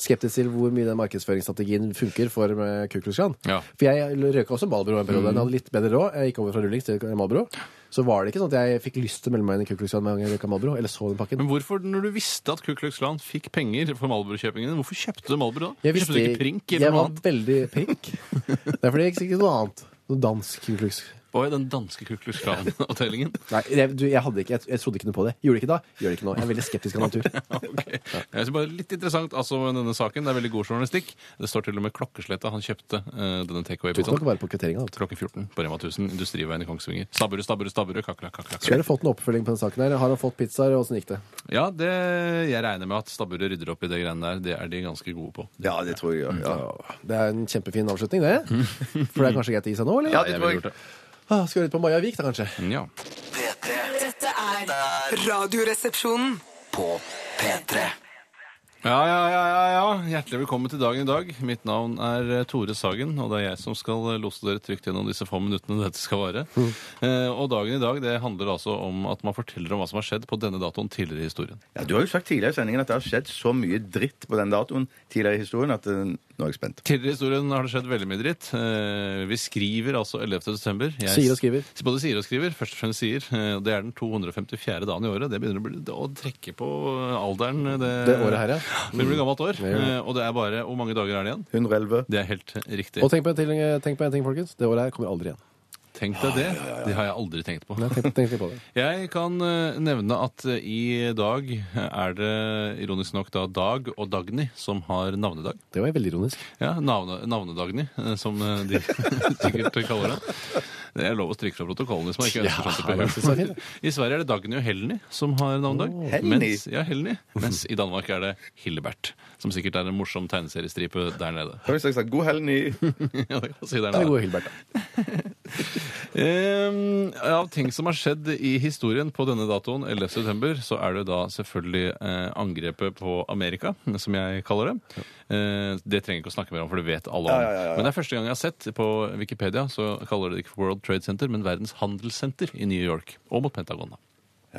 skeptisk til hvor mye den markedsføringsstrategien funker for eh, Ku Klux Klan. Ja. Mm. For jeg røyka også Malbro en periode. Jeg hadde litt bedre råd. Jeg gikk over fra rullings til Malbro. Så var det ikke sånn at jeg fikk lyst til å melde meg inn i Ku Klux Klan med en gang jeg røyka Malbro, eller så den pakken. Men hvorfor, når du visste at Ku Klux Klan fikk penger for Malbro-kjøpingen, hvorfor kjøpte du Malbro da? Jeg kjøpte du ikke Prink jeg eller noe var annet? veldig prink. Det er fordi jeg ikke noe annet. Noe dansk Ku Klux. Og i den danske Ku Klux Klan-avdelingen. Nei, jeg, du, jeg, hadde ikke, jeg, jeg trodde ikke noe på det. Gjorde det ikke da, gjør det ikke nå. Jeg er veldig skeptisk av [laughs] natur. Ok. Jeg synes bare Litt interessant altså denne saken. Det er veldig god journalistikk. Det står til og med klokkeslettet han kjøpte eh, denne Tok nok takeaway-pizzaen. bare på kvitteringa. vet du. Klokken 14 på Rema 1000, Industriveien i Kongsvinger. Stabburud, stabburud, stabburud, kakla, kakla. Skulle kakla. dere fått en oppfølging på den saken her? Har han fått pizzaer, og åssen gikk det? Ja, det, jeg regner med at stabburet rydder opp i det greiene der. Det er de ganske gode på. Ja, det tror jeg. Ja. Det er en kjempefin avslutning, det. For det er kanskje greit å gi seg nå, eller? Ja, Jeg det tror ville gjort jeg. det. Ah, Skal vi ut på Maja Vik, da, kanskje? Ja. P3 Dette er Radioresepsjonen. på P3 Ja, ja, ja, ja, ja. Hjertelig velkommen til dagen i dag. Mitt navn er eh, Tore Sagen, og det er jeg som skal eh, lose dere trygt gjennom disse få minuttene dette skal vare. Eh, og dagen i dag det handler altså om at man forteller om hva som har skjedd på denne datoen tidligere i historien. Ja, du har jo sagt tidligere i sendingen at det har skjedd så mye dritt på den datoen tidligere i historien at eh, nå er jeg spent. Tidligere i historien har det skjedd veldig mye dritt. Eh, Vi skriver altså 11. desember. Jeg- Sier og skriver. Både sier og skriver. Først og fremst sier. Eh, Det er den 254. dagen i året. Det begynner å, bli, å trekke på alderen. eh, Det, Det året her, ja. Det blir gammelt år. gjør det. Eh, Og det er bare Hvor mange dager er det igjen? 111. Det er helt eh, riktig. Og tenk på en ting, tenk på en ting folkens. Det året her kommer aldri igjen. Tenk deg det. Det har jeg aldri tenkt på. Jeg tenkte, tenkte på det. Jeg kan eh, nevne at eh, i dag er det ironisk nok da Dag og Dagny som har navnedag. Det var veldig ironisk. Ja, navne, Navnedagny, eh, som eh, de [laughs] sikkert kaller det. Det er lov å stryke fra protokollen hvis man ikke ønsker sånt. Ja, det synes jeg er oppgjør. I Sverige er det Dagny og Helny som har navnedag. Helny? Mens, ja, Helny. Mens i Danmark er det Hillebert, som sikkert er en morsom tegneseriestripe der nede. [laughs] Hva var det jeg sa? God helg, ny. ja, det kan man Ja, det si der er nede. god Hilbert. da. Ehm, av ting som har skjedd i historien på denne datoen, 11. september, så er det da selvfølgelig eh, angrepet på Amerika, som jeg kaller det. Eh, det trenger jeg ikke å snakke mer om, for det vet alle om. Men det er første gang jeg har sett på Wikipedia, så kaller de det ikke for World Trade Center, men Verdens handelssenter i New York. Og mot Pentagon, da.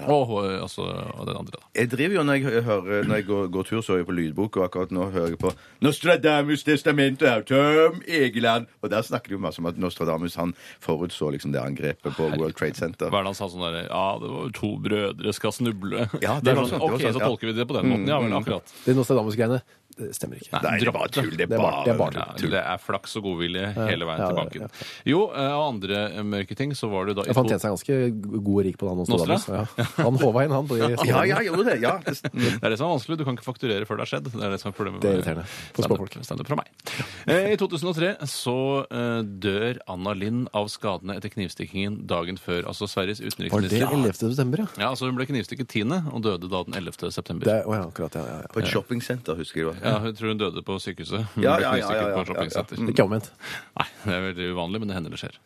Og eh, altså og den andre, da. Jeg driver jo når jeg, hører, når jeg går, går tur, så er jeg på lydbok, og akkurat nå hører jeg på Nostradamus testament av Tom Egeland. Og der snakker de jo masse om at Nostradamus han forutså liksom det angrepet på World Trade Center. Hva er det han sa sånn derre Ja, det var to brødre skal snuble. Ja, [laughs] det det er var sånn, sant, det var Ok, sant, så ja. Mm. tolker vi det på den måten. Ja vel, akkurat. Det Nostradamus-greiene det stemmer ikke. Nei, det er bare tull. Det er bare, det er bare Ja, det er flaks og godvilje hele veien ja, til ja, banken. Jo, eh, av andre eh, mørke ting så var det da i Jeg fant to- tjent seg ganske god og rik på det, han Nostradamus. Nostra? Ja. Han håva inn, han. [laughs] På de Ja, ja, jeg gjorde det. Ja. [laughs] Det er det som er vanskelig. Du kan ikke fakturere før det har skjedd. Det er det som er problemet. Det er med irriterende for standup- småfolk. standup fra meg. Eh, I 2003 så eh, dør Anna Lind av skadene etter knivstikkingen dagen før. Altså Sveriges Var det utenriksminister. 11. september, ja? Ja, altså Hun ble knivstikket 10. og døde da den 11. september. Det, er- å ja, akkurat, ja, ja, ja. På et shoppingsenter, husker jeg det var. Ja, hun tror hun døde på sykehuset. Hun Ja, ble ja, ja, knivstikket ja, ja, på et shoppingsenter. Det er Ikke omvendt. Nei, det er veldig uvanlig, men det hender det skjer.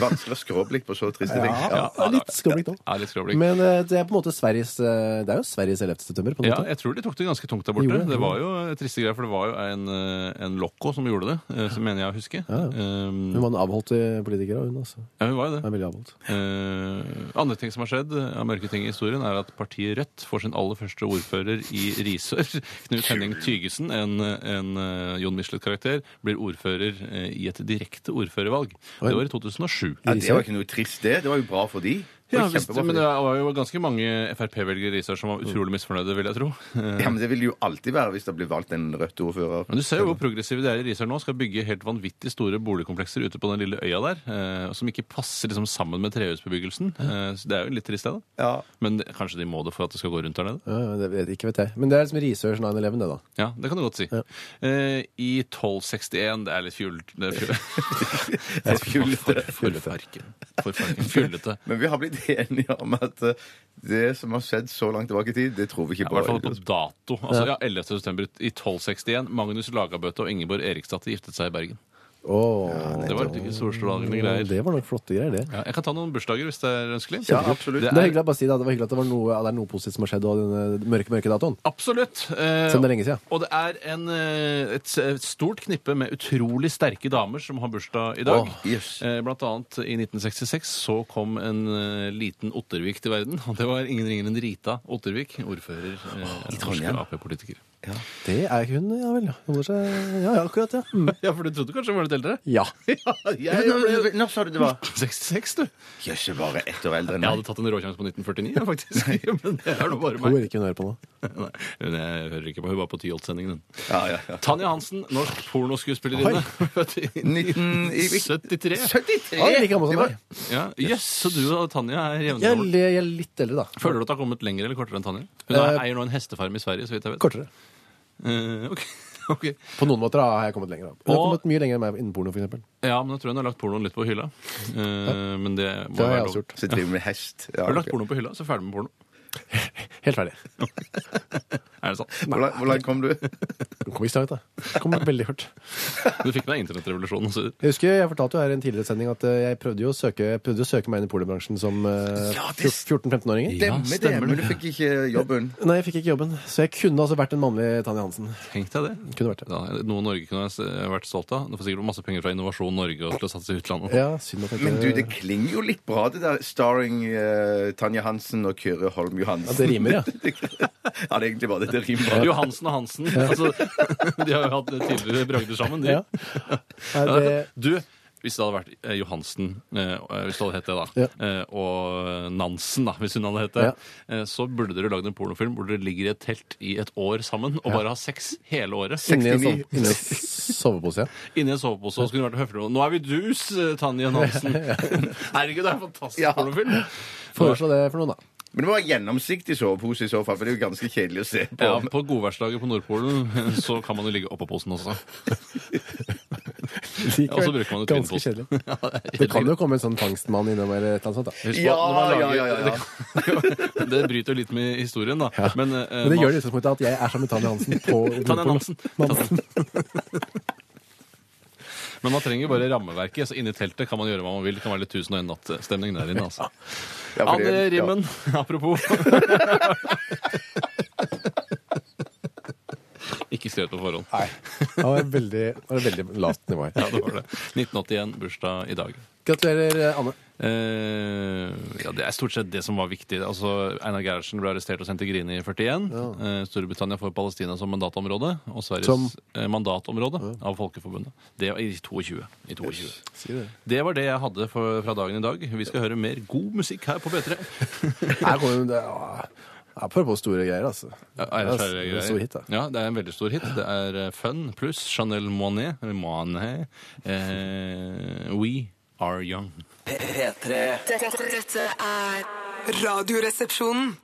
Vanskelig å skrå blikk på så triste ting. Ja. Ja, litt skråblikk nå. Ja, litt skråblikk. Men eh, det er på en måte Sveriges eh, Det er jo Sveriges 11. september, på en Ja, måte. jeg tror de tok det ganske tungt der borte. Gjorde det? det var jo eh, triste greier, for det var jo en, eh, en lokko som gjorde det, eh, som mener jeg å huske. Um, Hun var en avholdt eh, politiker, og hun altså. ja, hun var jo Hun det. er veldig avholdt. Eh, andre ting som har skjedd, eh, av mørke ting i historien, er at partiet Rødt får sin aller første ordfører i Risør. [laughs] Knut Henning Tygesen, en, eh, en eh, Jon Michelet-karakter, blir ordfører eh, i et direkte ordførervalg. Det var i 2007. Ja, det var ikke noe trist, det. Det var jo bra for de. Det Ja, var visst, kjempebra men for det de. var jo ganske mange Frp-velgere i Risør som var utrolig misfornøyde, vil jeg tro. Eh, Ja, men det vil jo alltid være hvis det blir valgt en rødt ordfører. Men du ser jo hvor progressive de er i Risør nå. Skal bygge helt vanvittig store boligkomplekser ute på den lille øya der. Eh, som ikke passer liksom sammen med trehusbebyggelsen. Eh, så det er jo litt trist, det. da. Ja. Men det- kanskje de må det for at det skal gå rundt der nede? Ja, ja, det vet, ikke vet jeg. Men det er liksom Risørs 9-11, det, da. Ja, det kan du godt si. Eh, I 1261 Det er litt fjul... Det er fjul [laughs] Fjullete. for, for farken. For farken. Fjullete. Men vi har blitt enige om at eh, det som har skjedd så langt tilbake i tid, det tror vi ikke Ja, I hvert fall på. på dato. Altså, ja, 11. september i 1261. Magnus Lagabøte og Ingeborg Eriksdatter giftet seg i Bergen. Åh, Det var litt storslående greier. det var nok flotte greier, det. Ja, jeg kan ta noen bursdager hvis det er ønskelig. Ja, absolutt. Det er hyggelig å bare si det, at det var hyggelig at det, var noe, at det er noe positivt som har skjedd, og denne mørke, mørke datoen. Absolutt. Eh, Selv om det er lenge siden. Og det er en, eh, et, s- et stort knippe med utrolig sterke damer som har bursdag i dag. Åh, yes. Eh, Blant annet i 1966 så kom en eh, liten Ottervik til verden. Og det var ingen ringere enn Rita Ottervik, ordfører eh, norske Trondheim. Ap-politiker. [laughs] Det er hun, ja vel. ja. Holder seg Ja, ja, akkurat, ja. [laughs] Mm. Ja, for du trodde kanskje hun var litt eldre? Ja. Ja, Ja, jeg ble nå- Nå sa du det var 66, du. Jøss, jeg er bare ett år eldre enn Jeg hadde meg. tatt en råkjangs på 1949, ja, [laughs] faktisk. Men det er nå bare Hun meg. vil ikke hun høre på nå. Nei, hun jeg hører ikke på. Hun var på Tyholt-sendingen, hun. Ja, ja, ja. Tanja Hansen, norsk pornoskuespillerinne. [laughs] Født i 19... i- i- 73. 73! Ja, like gammel Eh, Det som var- meg. Ja, yes, så du og Tanja Jeg er er, jevngamle. li- jeg er litt eldre, da. Føler du at det har kommet lenger eller kortere enn Tanja? Hun er, Eh, eier nå en hestefarm i Sverige, så vidt jeg vet. Kortere. Eh, ok. [laughs] ok. På noen måter da, har jeg kommet lenger. da. Hun har Og- kommet mye lenger enn meg innen porno, for eksempel. Ja, men jeg tror hun har lagt pornoen litt på hylla. Eh, men det må Det har være jeg lov. også gjort. Så driver vi med hest. Ja, Har du lagt ok. pornoen på hylla, så er du ferdig med porno. Helt ferdig. Er det sant? Hvor langt- Hvor langt kom du? Hun kom ikke så langt, da. Kom veldig hardt. Du fikk med deg internettrevolusjonen. Så... Jeg husker, jeg fortalte jo her i en tidligere sending at eh, jeg prøvde jo å søke, jeg prøvde å søke meg inn i pornobransjen som eh, Ja, det 14-15-åringer. Stemmer det, stemmer men det. du fikk ikke jobben. Nei, jeg fikk ikke jobben, så jeg kunne altså vært en mannlig Tanja Hansen. Tenk deg det. Kunne vært det. Ja, noe Norge kunne ha s- vært stolt av. Det får sikkert masse penger fra Innovasjon Norge og til å satse i utlandet. Ja, synd at jeg ikke Men du, det klinger jo litt bra, det der. Starring eh, Tanja Hansen og Kyrre Holm Johansen. Ja, det rimer, [laughs] ja. ja, det er egentlig bare det. Det rimer bra. Johansen og Hansen. Altså, [laughs] de har jo hatt tidligere bragder sammen, de. Ja. Nei, det... [laughs] Du, hvis det hadde vært eh, Johansen, eh, eh, hvis det hadde hett det, da, eh, og Nansen, da, hvis hun hadde hett det, eh, så burde dere lagd en pornofilm hvor dere ligger i et telt i et år sammen og bare har sex hele året. Inni en sånn, 69. inni en sovepose, ja. Inni en sovepose, og så kunne det vært høflig. Nå er vi dus, eh, Tanja [laughs] Nansen! Herregud, det er en fantastisk Ja. pornofilm! Foreslå det for noen, da. Men det var gjennomsiktig sovepose i så fall, for det er jo ganske kjedelig å se på. Ja, på godværsdager på Nordpolen eh, så kan man jo ligge oppå posen også. Og så bruker man jo Ganske tynnposen. kjedelig. [laughs] Det kan jo komme en sånn fangstmann innom eller et eller annet sånt. da. Husk på at Ja, når man lager- ja, ja, ja. Det, kan- [laughs] det bryter jo litt med historien, da. Men, Men eh, det gjør man- det i utgangspunktet at jeg er sammen med Tanja Hansen [laughs] på Tanja Nansen. Nansen. [laughs] men man trenger jo bare rammeverket. Så inni teltet kan man gjøre hva man vil. Det kan være litt 1001 natt-stemning der inne, altså. Ja, for det- Anne ja. Rimmen, apropos. [laughs] Ikke skrevet på forhånd. Nei. Det var et veldig, det var et veldig lavt nivå Ja, her. det var det. 1981, bursdag i dag. Gratulerer, Anne. Eh, ja, Det er stort sett det som var viktig. Altså, Einar Gerhardsen ble arrestert og sendt til Grini i 41. Eh, Storbritannia får Palestina som mandatområde, og Sveriges Som? eh, mandatområde av Folkeforbundet. Det var i 22. I 22. Si det. Det var det jeg hadde for, fra dagen i dag. Vi skal høre mer god musikk her på P3. Her kommer det ja, Apropos store greier, altså. [laughs] Ja, Einar Det er Skjære en greier. Stor hit, da. Ja, det er en veldig stor hit. Det er eh, Fun pluss Chanel Monet, eller Monet, eh, We Are Young. P3. Dette, dette er Radioresepsjonen.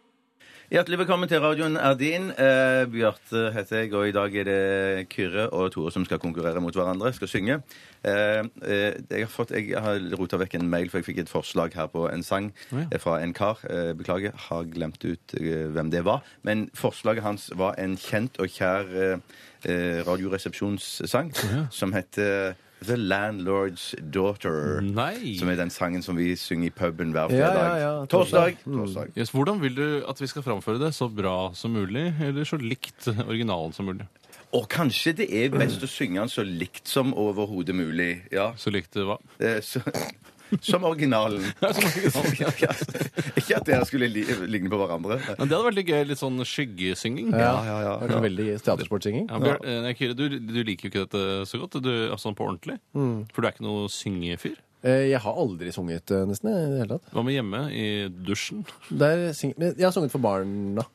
Hjertelig velkommen til radioen er din. Eh, Bjarte heter jeg, og i dag er det Kyrre og Tore som skal konkurrere mot hverandre. Skal synge. Eh, eh, jeg har, fått- jeg har rota vekk en mail, for jeg fikk et forslag her på en sang eh, fra en kar. Eh, beklager, har glemt ut eh, hvem det var. Men forslaget hans var en kjent og kjær eh, eh, radioresepsjonssang som heter eh, The Landlord's Daughter. Nei! Som er den sangen som vi synger i puben hver Ja, ja, fredag. ja, Mm. Torsdag. torsdag. Torsdag. Yes, hvordan vil du at vi skal framføre det? Så bra som mulig, eller så likt originalen som mulig? Og kanskje det er best å synge den så likt som overhodet mulig. Ja. Så [laughs] likt det hva? Eh, så, som originalen. Ja, Ikke at dere skulle li ligne på hverandre. Men det hadde vært litt gøy. Litt sånn skyggesynging. Ja, ja, ja. Det var Veldig teatersportsynging. Ja, Bjørn, eh, nei, Kyrre, du, du liker jo ikke dette så godt, du, altså på ordentlig. Mm. For du er ikke noe syngefyr. Eh, Jeg har aldri sunget, eh, nesten. i det hele tatt. Hva med hjemme i dusjen? Der syng, men jeg har sunget for barna.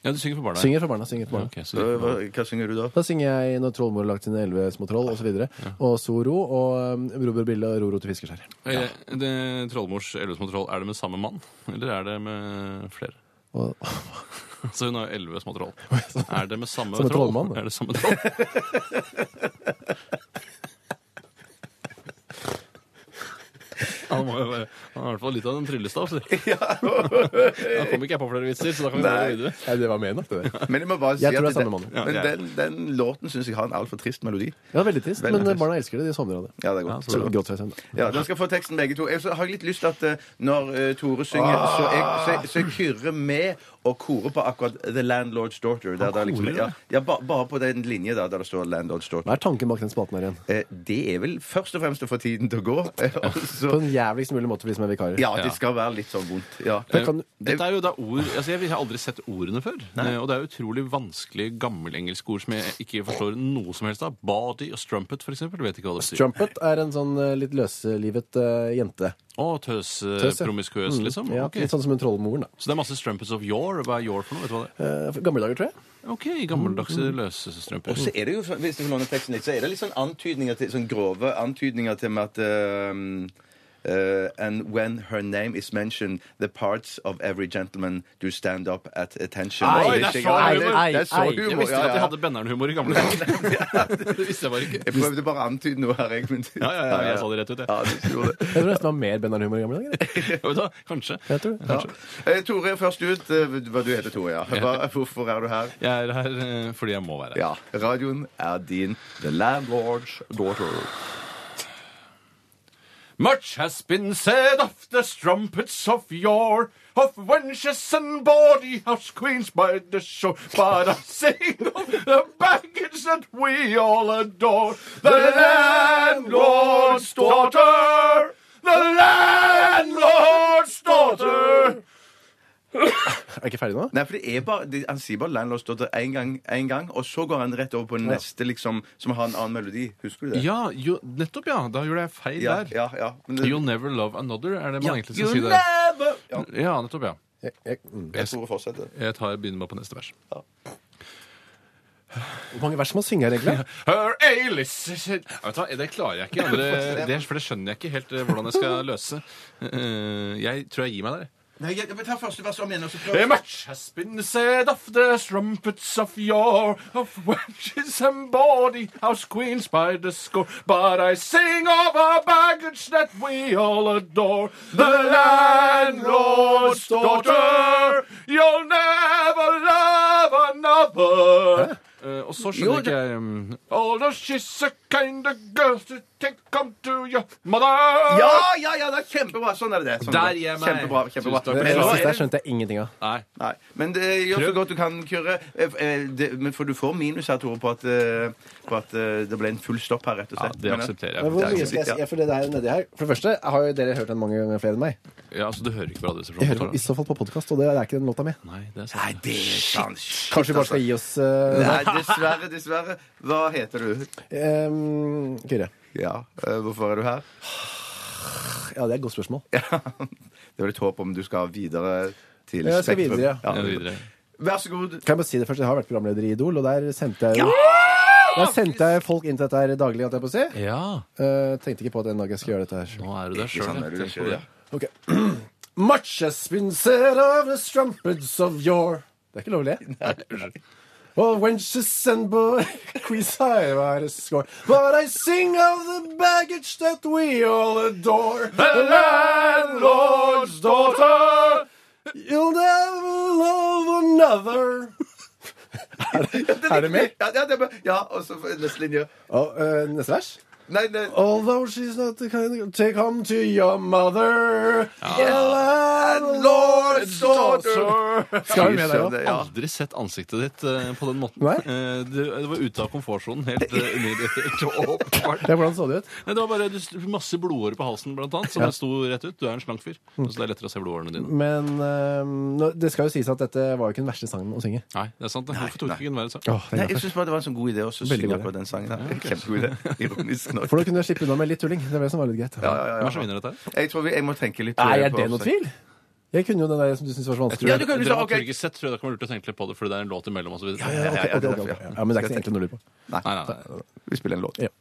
Ja, du synger for barna. Synger for barna. synger for Ja, barna. ok, så Hva, du- hva- hva synger du [laughs] da? Da synger jeg 'Når trollmor har lagt sine elleve små troll', osv. videre Og Soro og um, Bror Bille og Roro til fiskeskjær. Eh, det, Trollmors elleve små troll, er det med samme mann? Eller er det med flere? Og- Så hun har jo elleve små [laughs] troll. Er det med samme, Samme troll? trollmann, da. Er det samme [laughs] troll? Han, må jo være, han har i hvert fall litt av en tryllestav. sier jeg. Da kom ikke jeg på flere vitser, så da kan vi gå Nei. videre. Ja, det var med nok, det der. Men jeg må bare si Jeg tror at det er samme den, mann. men den, den låten syns jeg har en altfor trist melodi. [laughs] Ja, veldig trist, Veldig men eh, trist. barna elsker det. De sovner av det. Ja, det er godt. Så Det er godt. gråt seg i søvn. da. Ja, Dere skal få teksten begge to. Jeg så har jeg litt lyst til at eh, når eh, Tore synger, Ah. så jeg, så, jeg, så jeg kyrrer med og korer på akkurat The Landlord's Daughter. Der, der liksom, ja, ja, ba, bare på den linje der, der det står Landlord's Daughter. Hva er tanken bak den spalten her igjen? Eh, Det er vel først og fremst å få tiden til å gå. eh, og På så- en jævligst mulig måte for de som er vikarer. Ja, det skal være litt sånn vondt. Ja. Da kan, Dette er jo da ord, altså Jeg har aldri sett ordene før. Eh, Og det er utrolig vanskelig gammelengelske ord som jeg ikke forstår noe som helst av. Body og strumpet, for eksempel. Vet ikke hva det betyr. Trumpet er en sånn eh, litt løslivet eh, jente. Å, tøs, eh, Tøs, ja. promiskuøs, liksom. Ja, Ok. Litt sånn som en trollmoren, da. Så det er masse strumpets of yore. Hva er yore for noe? Vet du hva det er? Eh, for Gamle dager, tror jeg. Ok, gammeldagse løsestrømper. Og så er det jo, så- hvis du får låne teksten litt, så er det litt sånn antydninger til, sånn grove antydninger til med at eh, eh, and when her name is mentioned, the parts of every gentleman do stand up at attention. Oi, Og så der ikke- sa Ja, jeg det- humor. det er så Ei, ei, Jeg humor, visste ja, ikke at de ja. hadde bennernhumor i gamle dager. Det visste jeg bare ikke. Jeg prøvde bare å antyde noe her, jeg. men- Ja, ja, ja, jeg sa det rett ut, jeg. Ja, du gjorde det. Jeg tror nesten det var mer Bennarn-humor i gamle dager. jeg. Vet du hva? Kanskje. Jeg tror det. Ja. Eh, Tore, først ut. eh, Hva du heter Tore, ja. Hva, hvorfor er du her? Jeg er her eh, fordi jeg må være her. Ja. Radioen er din. The landlord's daughter. Much has been said of the strumpets of yore, of wenches and body house queens by the shore, but I sing of the baggage that we all adore. The landlord's daughter, the landlord's daughter. Er jeg ikke ferdig nå? Nei, for det er bare, det, Han sier bare 'Landlord's Daughter' én gang, en gang, og så går han rett over på den neste, liksom, som har en annen melodi. Husker du det? Ja, jo, nettopp ja. Da gjorde jeg feil ja, der. ja, ja. Men det, You'll never love another, er det man egentlig skal You si der. never ja, Ja, nettopp ja. Jeg, jeg, mm. Jeg tror det fortsetter. Jeg tar, begynner bare på neste vers. Hvor mange vers må man synge her, egentlig? Her Alice Vet du hva, Det klarer jeg ikke. Andre, det, for det skjønner jeg ikke helt eh, hvordan jeg skal løse. Eh, Jeg tror jeg gir meg der. jeg. Nei, jeg, men ta første vers om igjen, og så A prøv. match has been set of the strumpets of yore, of wenches and bawdy house queens by the score. But I sing of our baggage that we all adore. The landlord's daughter, you'll never love another. Eh, og så skjønner Jo, det- ikke jeg um, Although she's a kind of girl to take come to your mother. Ja, ja, ja, det er kjempebra. Sånn er det. Sånn Der er det. gir jeg meg. Kjempebra, kjempebra. Tusen takk. Det, det Men nå er siste det- her skjønte jeg ingenting av. Nei. Nei, men det, gjør så Prøv. godt du kan, Kyrre. Eh, eh, det- Men for du får minus her, Tore, på at, eh, på at eh, det ble en full stopp her, rett og Ja, slett. det Men, eh, aksepterer Men jeg. hvor Det mye er ikke skal jeg sikkert, si? For det der nedi her For det første har jo dere hørt den mange ganger flere enn meg. Ja, altså, du hører ikke på Jeg hører på, i radioresepsjonen? så fall på podkast, og det er ikke den låta mi. Nei, det er sant. Nei, det er sant. Shit, Kanskje vi bare altså. skal gi oss uh, Nei, dessverre, dessverre. Hva heter du? um, Kyrre. Ja, eh, hvorfor er du [laughs] her? Ja, det er et godt spørsmål. Det var litt håp om du skal videre til Jeg skal Spektrum. videre, Ja, videre. Vær så god. Kan jeg bare si det først? Jeg har vært programleder i Idol, og der sendte jeg jo Der sendte jeg folk inn til dette her daglig, holdt jeg på å si. Ja, Eh, tenkte ikke på at en dag jeg skulle gjøre dette her. nå er du der sjøl. sant, Sånn er du der selv, ja. Ok. [clears throat] Much has been said of the strumpets of yore. Det er ikke lov å [laughs] le. Well, wenches and boy, [laughs] quiz high by the score. But I sing of the baggage that we all adore. The landlord's daughter. You'll never love another. er det med? Ja, ja, det er med. Ja, og så neste linje. Og, eh, neste vers. Nei, nei. Although she's not the kind of take home to your mother. The Ah. landlord's daughter. Skal vi med der, da? Søren, ja. Aldri sett ansiktet ditt eh, på den måten. Nei. Eh, det, det var ute av komfortsonen. Helt eh, umiddelbart. [laughs] Helt åpenbart. Ja, hvordan så det ut? Nei, det var bare du, masse blodårer på halsen, blant annet, som sto rett ut. Du er en slank fyr, Mm. så det er lettere å se blodårene Mm. dine. Men ehm, nå- det skal jo sies at dette var jo ikke den verste sangen å synge. Nei, det er sant. det. Hvorfor tok du ikke den verre sang? Åh, Nei, jeg syns bare det var en sånn god idé også, å Veldig synge god idé. på den sangen. her. Kjempegod [laughs] idé. Ironisk nok. For nå kunne jeg slippe unna med litt tulling. Det var det som var litt greit. Ja, ja, Hvem ja, er det som ja. vinner dette her? Jeg tror vi, jeg må tenke litt Nei, eh, er på det noe tvil? Jeg kunne jo den der som du syntes var så Jeg vanskelig. tror Ja, jeg- du kan jo Dere si, har ok. ikke sett, tror jeg dere kommer til å tenke litt på det, for det er en låt imellom osv. Nei, Ja, nei, ok, ja, ja, ok, det er ok, derfor, ok. ja. Ja, men det er ikke så enkelt å lure på. nei. Vi spiller en låt. Ja.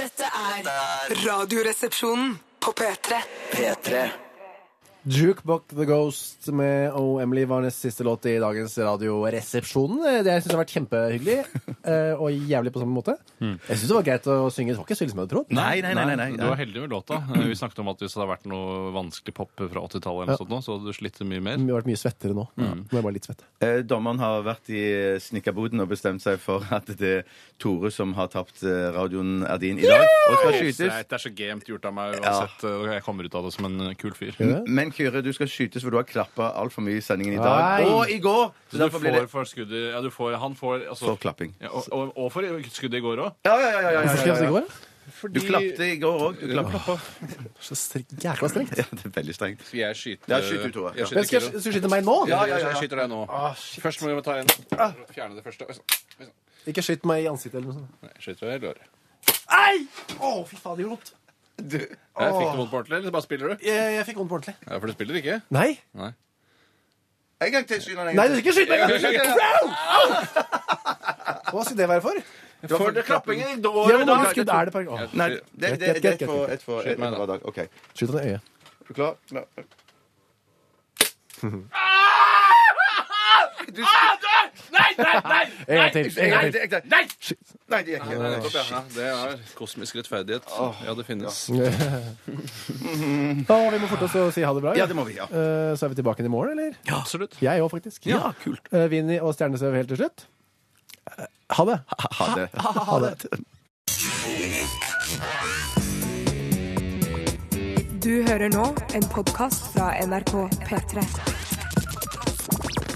Dette er Radioresepsjonen på P3. P3 Jukebox The Ghost med O. Emily var nest siste låt i dagens Radioresepsjonen. Eh, Det jeg synes har vært [laughs] kjempehyggelig, eh, og jævlig på samme måte. Jeg syns det var greit å synge. Det var ikke så ille som jeg hadde trodd. Nei, nei, nei. nei, nei, Du var heldig med [clears throat] låta. Eh, Vi snakket om at hvis det hadde vært noe vanskelig pop fra 80-tallet, eller noe sånt nå, så hadde du slitt mye mer. Mm. Vi har vært mye svettere nå. Nå er jeg bare litt svett. Eh, Dommeren har vært i snekkerboden og bestemt seg for [laughs] at det er Tore som har tapt eh, radioen er din i dag og skal skytes. Det er så gamet gjort av meg uansett. og Jeg kommer ut av det som en eh, kul fyr. Gjør det? Men Kyrre, du skal skytes, for du har klappa altfor mye i sendingen i Nei. dag. Og i går! Så Så du derfor blir får det for skuddet Ja, du får Han får altså, For klapping. Ja, og, og, og for skuddet i går òg. Ja, ja, ja. ja, ja, Hvorfor skal jeg ja, altså ja. gå? da? Du klapte i går òg. Du klappa. Så strengt- jækla strengt. [laughs] Ja, det er veldig strengt. Skal jeg skyte Ja, skyt du, Tore. Men Skal Jeg skyter Kyrre. jeg skal jeg skyte meg nå? Ah, Ja, ja, ja, Jeg skyter deg nå. Ah. Først må vi ta en Fjerne det første. Oi sann. Oi sann. Ikke skyt meg i ansiktet eller noe sånt. Nei, jeg skyter deg i låret. Ei! Å, fy faen, det gjorde vondt. Jeg fikk du vondt på ordentlig, eller bare spiller du? Jeg, jeg fikk vondt på ordentlig. Ja, For du spiller ikke? Nei. Nei. En gang til, Synan. en Nei, gang du skal til. ikke skyte meg! Du skal ikke- Au! Au! Hva skulle det være for? Det var for- klappingen i Ja, dåret men mange skudd er det per Å, Nei, det- det det- det er ett for ett for Skyt meg, ett da. hver dag. OK. Er Skyt han i øyet. du klar? Ja. Du- Nei, nei, nei! En gang til. En Nei, gang [laughs] til. det er ikke det. Nei! Nei, det er ikke det. Nettopp, ja. Det er kosmisk rettferdighet. Ja, det finnes. Da, vi må forte oss å si ha det bra. Ja, det må vi, ja. Eh, Så er vi tilbake igjen i morgen, eller? Absolutt. Jeg òg, faktisk. Ja, kult. Eh, Vinni og Stjernesøv helt til slutt. Eh, Ha det. Ha det. Ha det. Du hører nå en podkast fra NRK P3.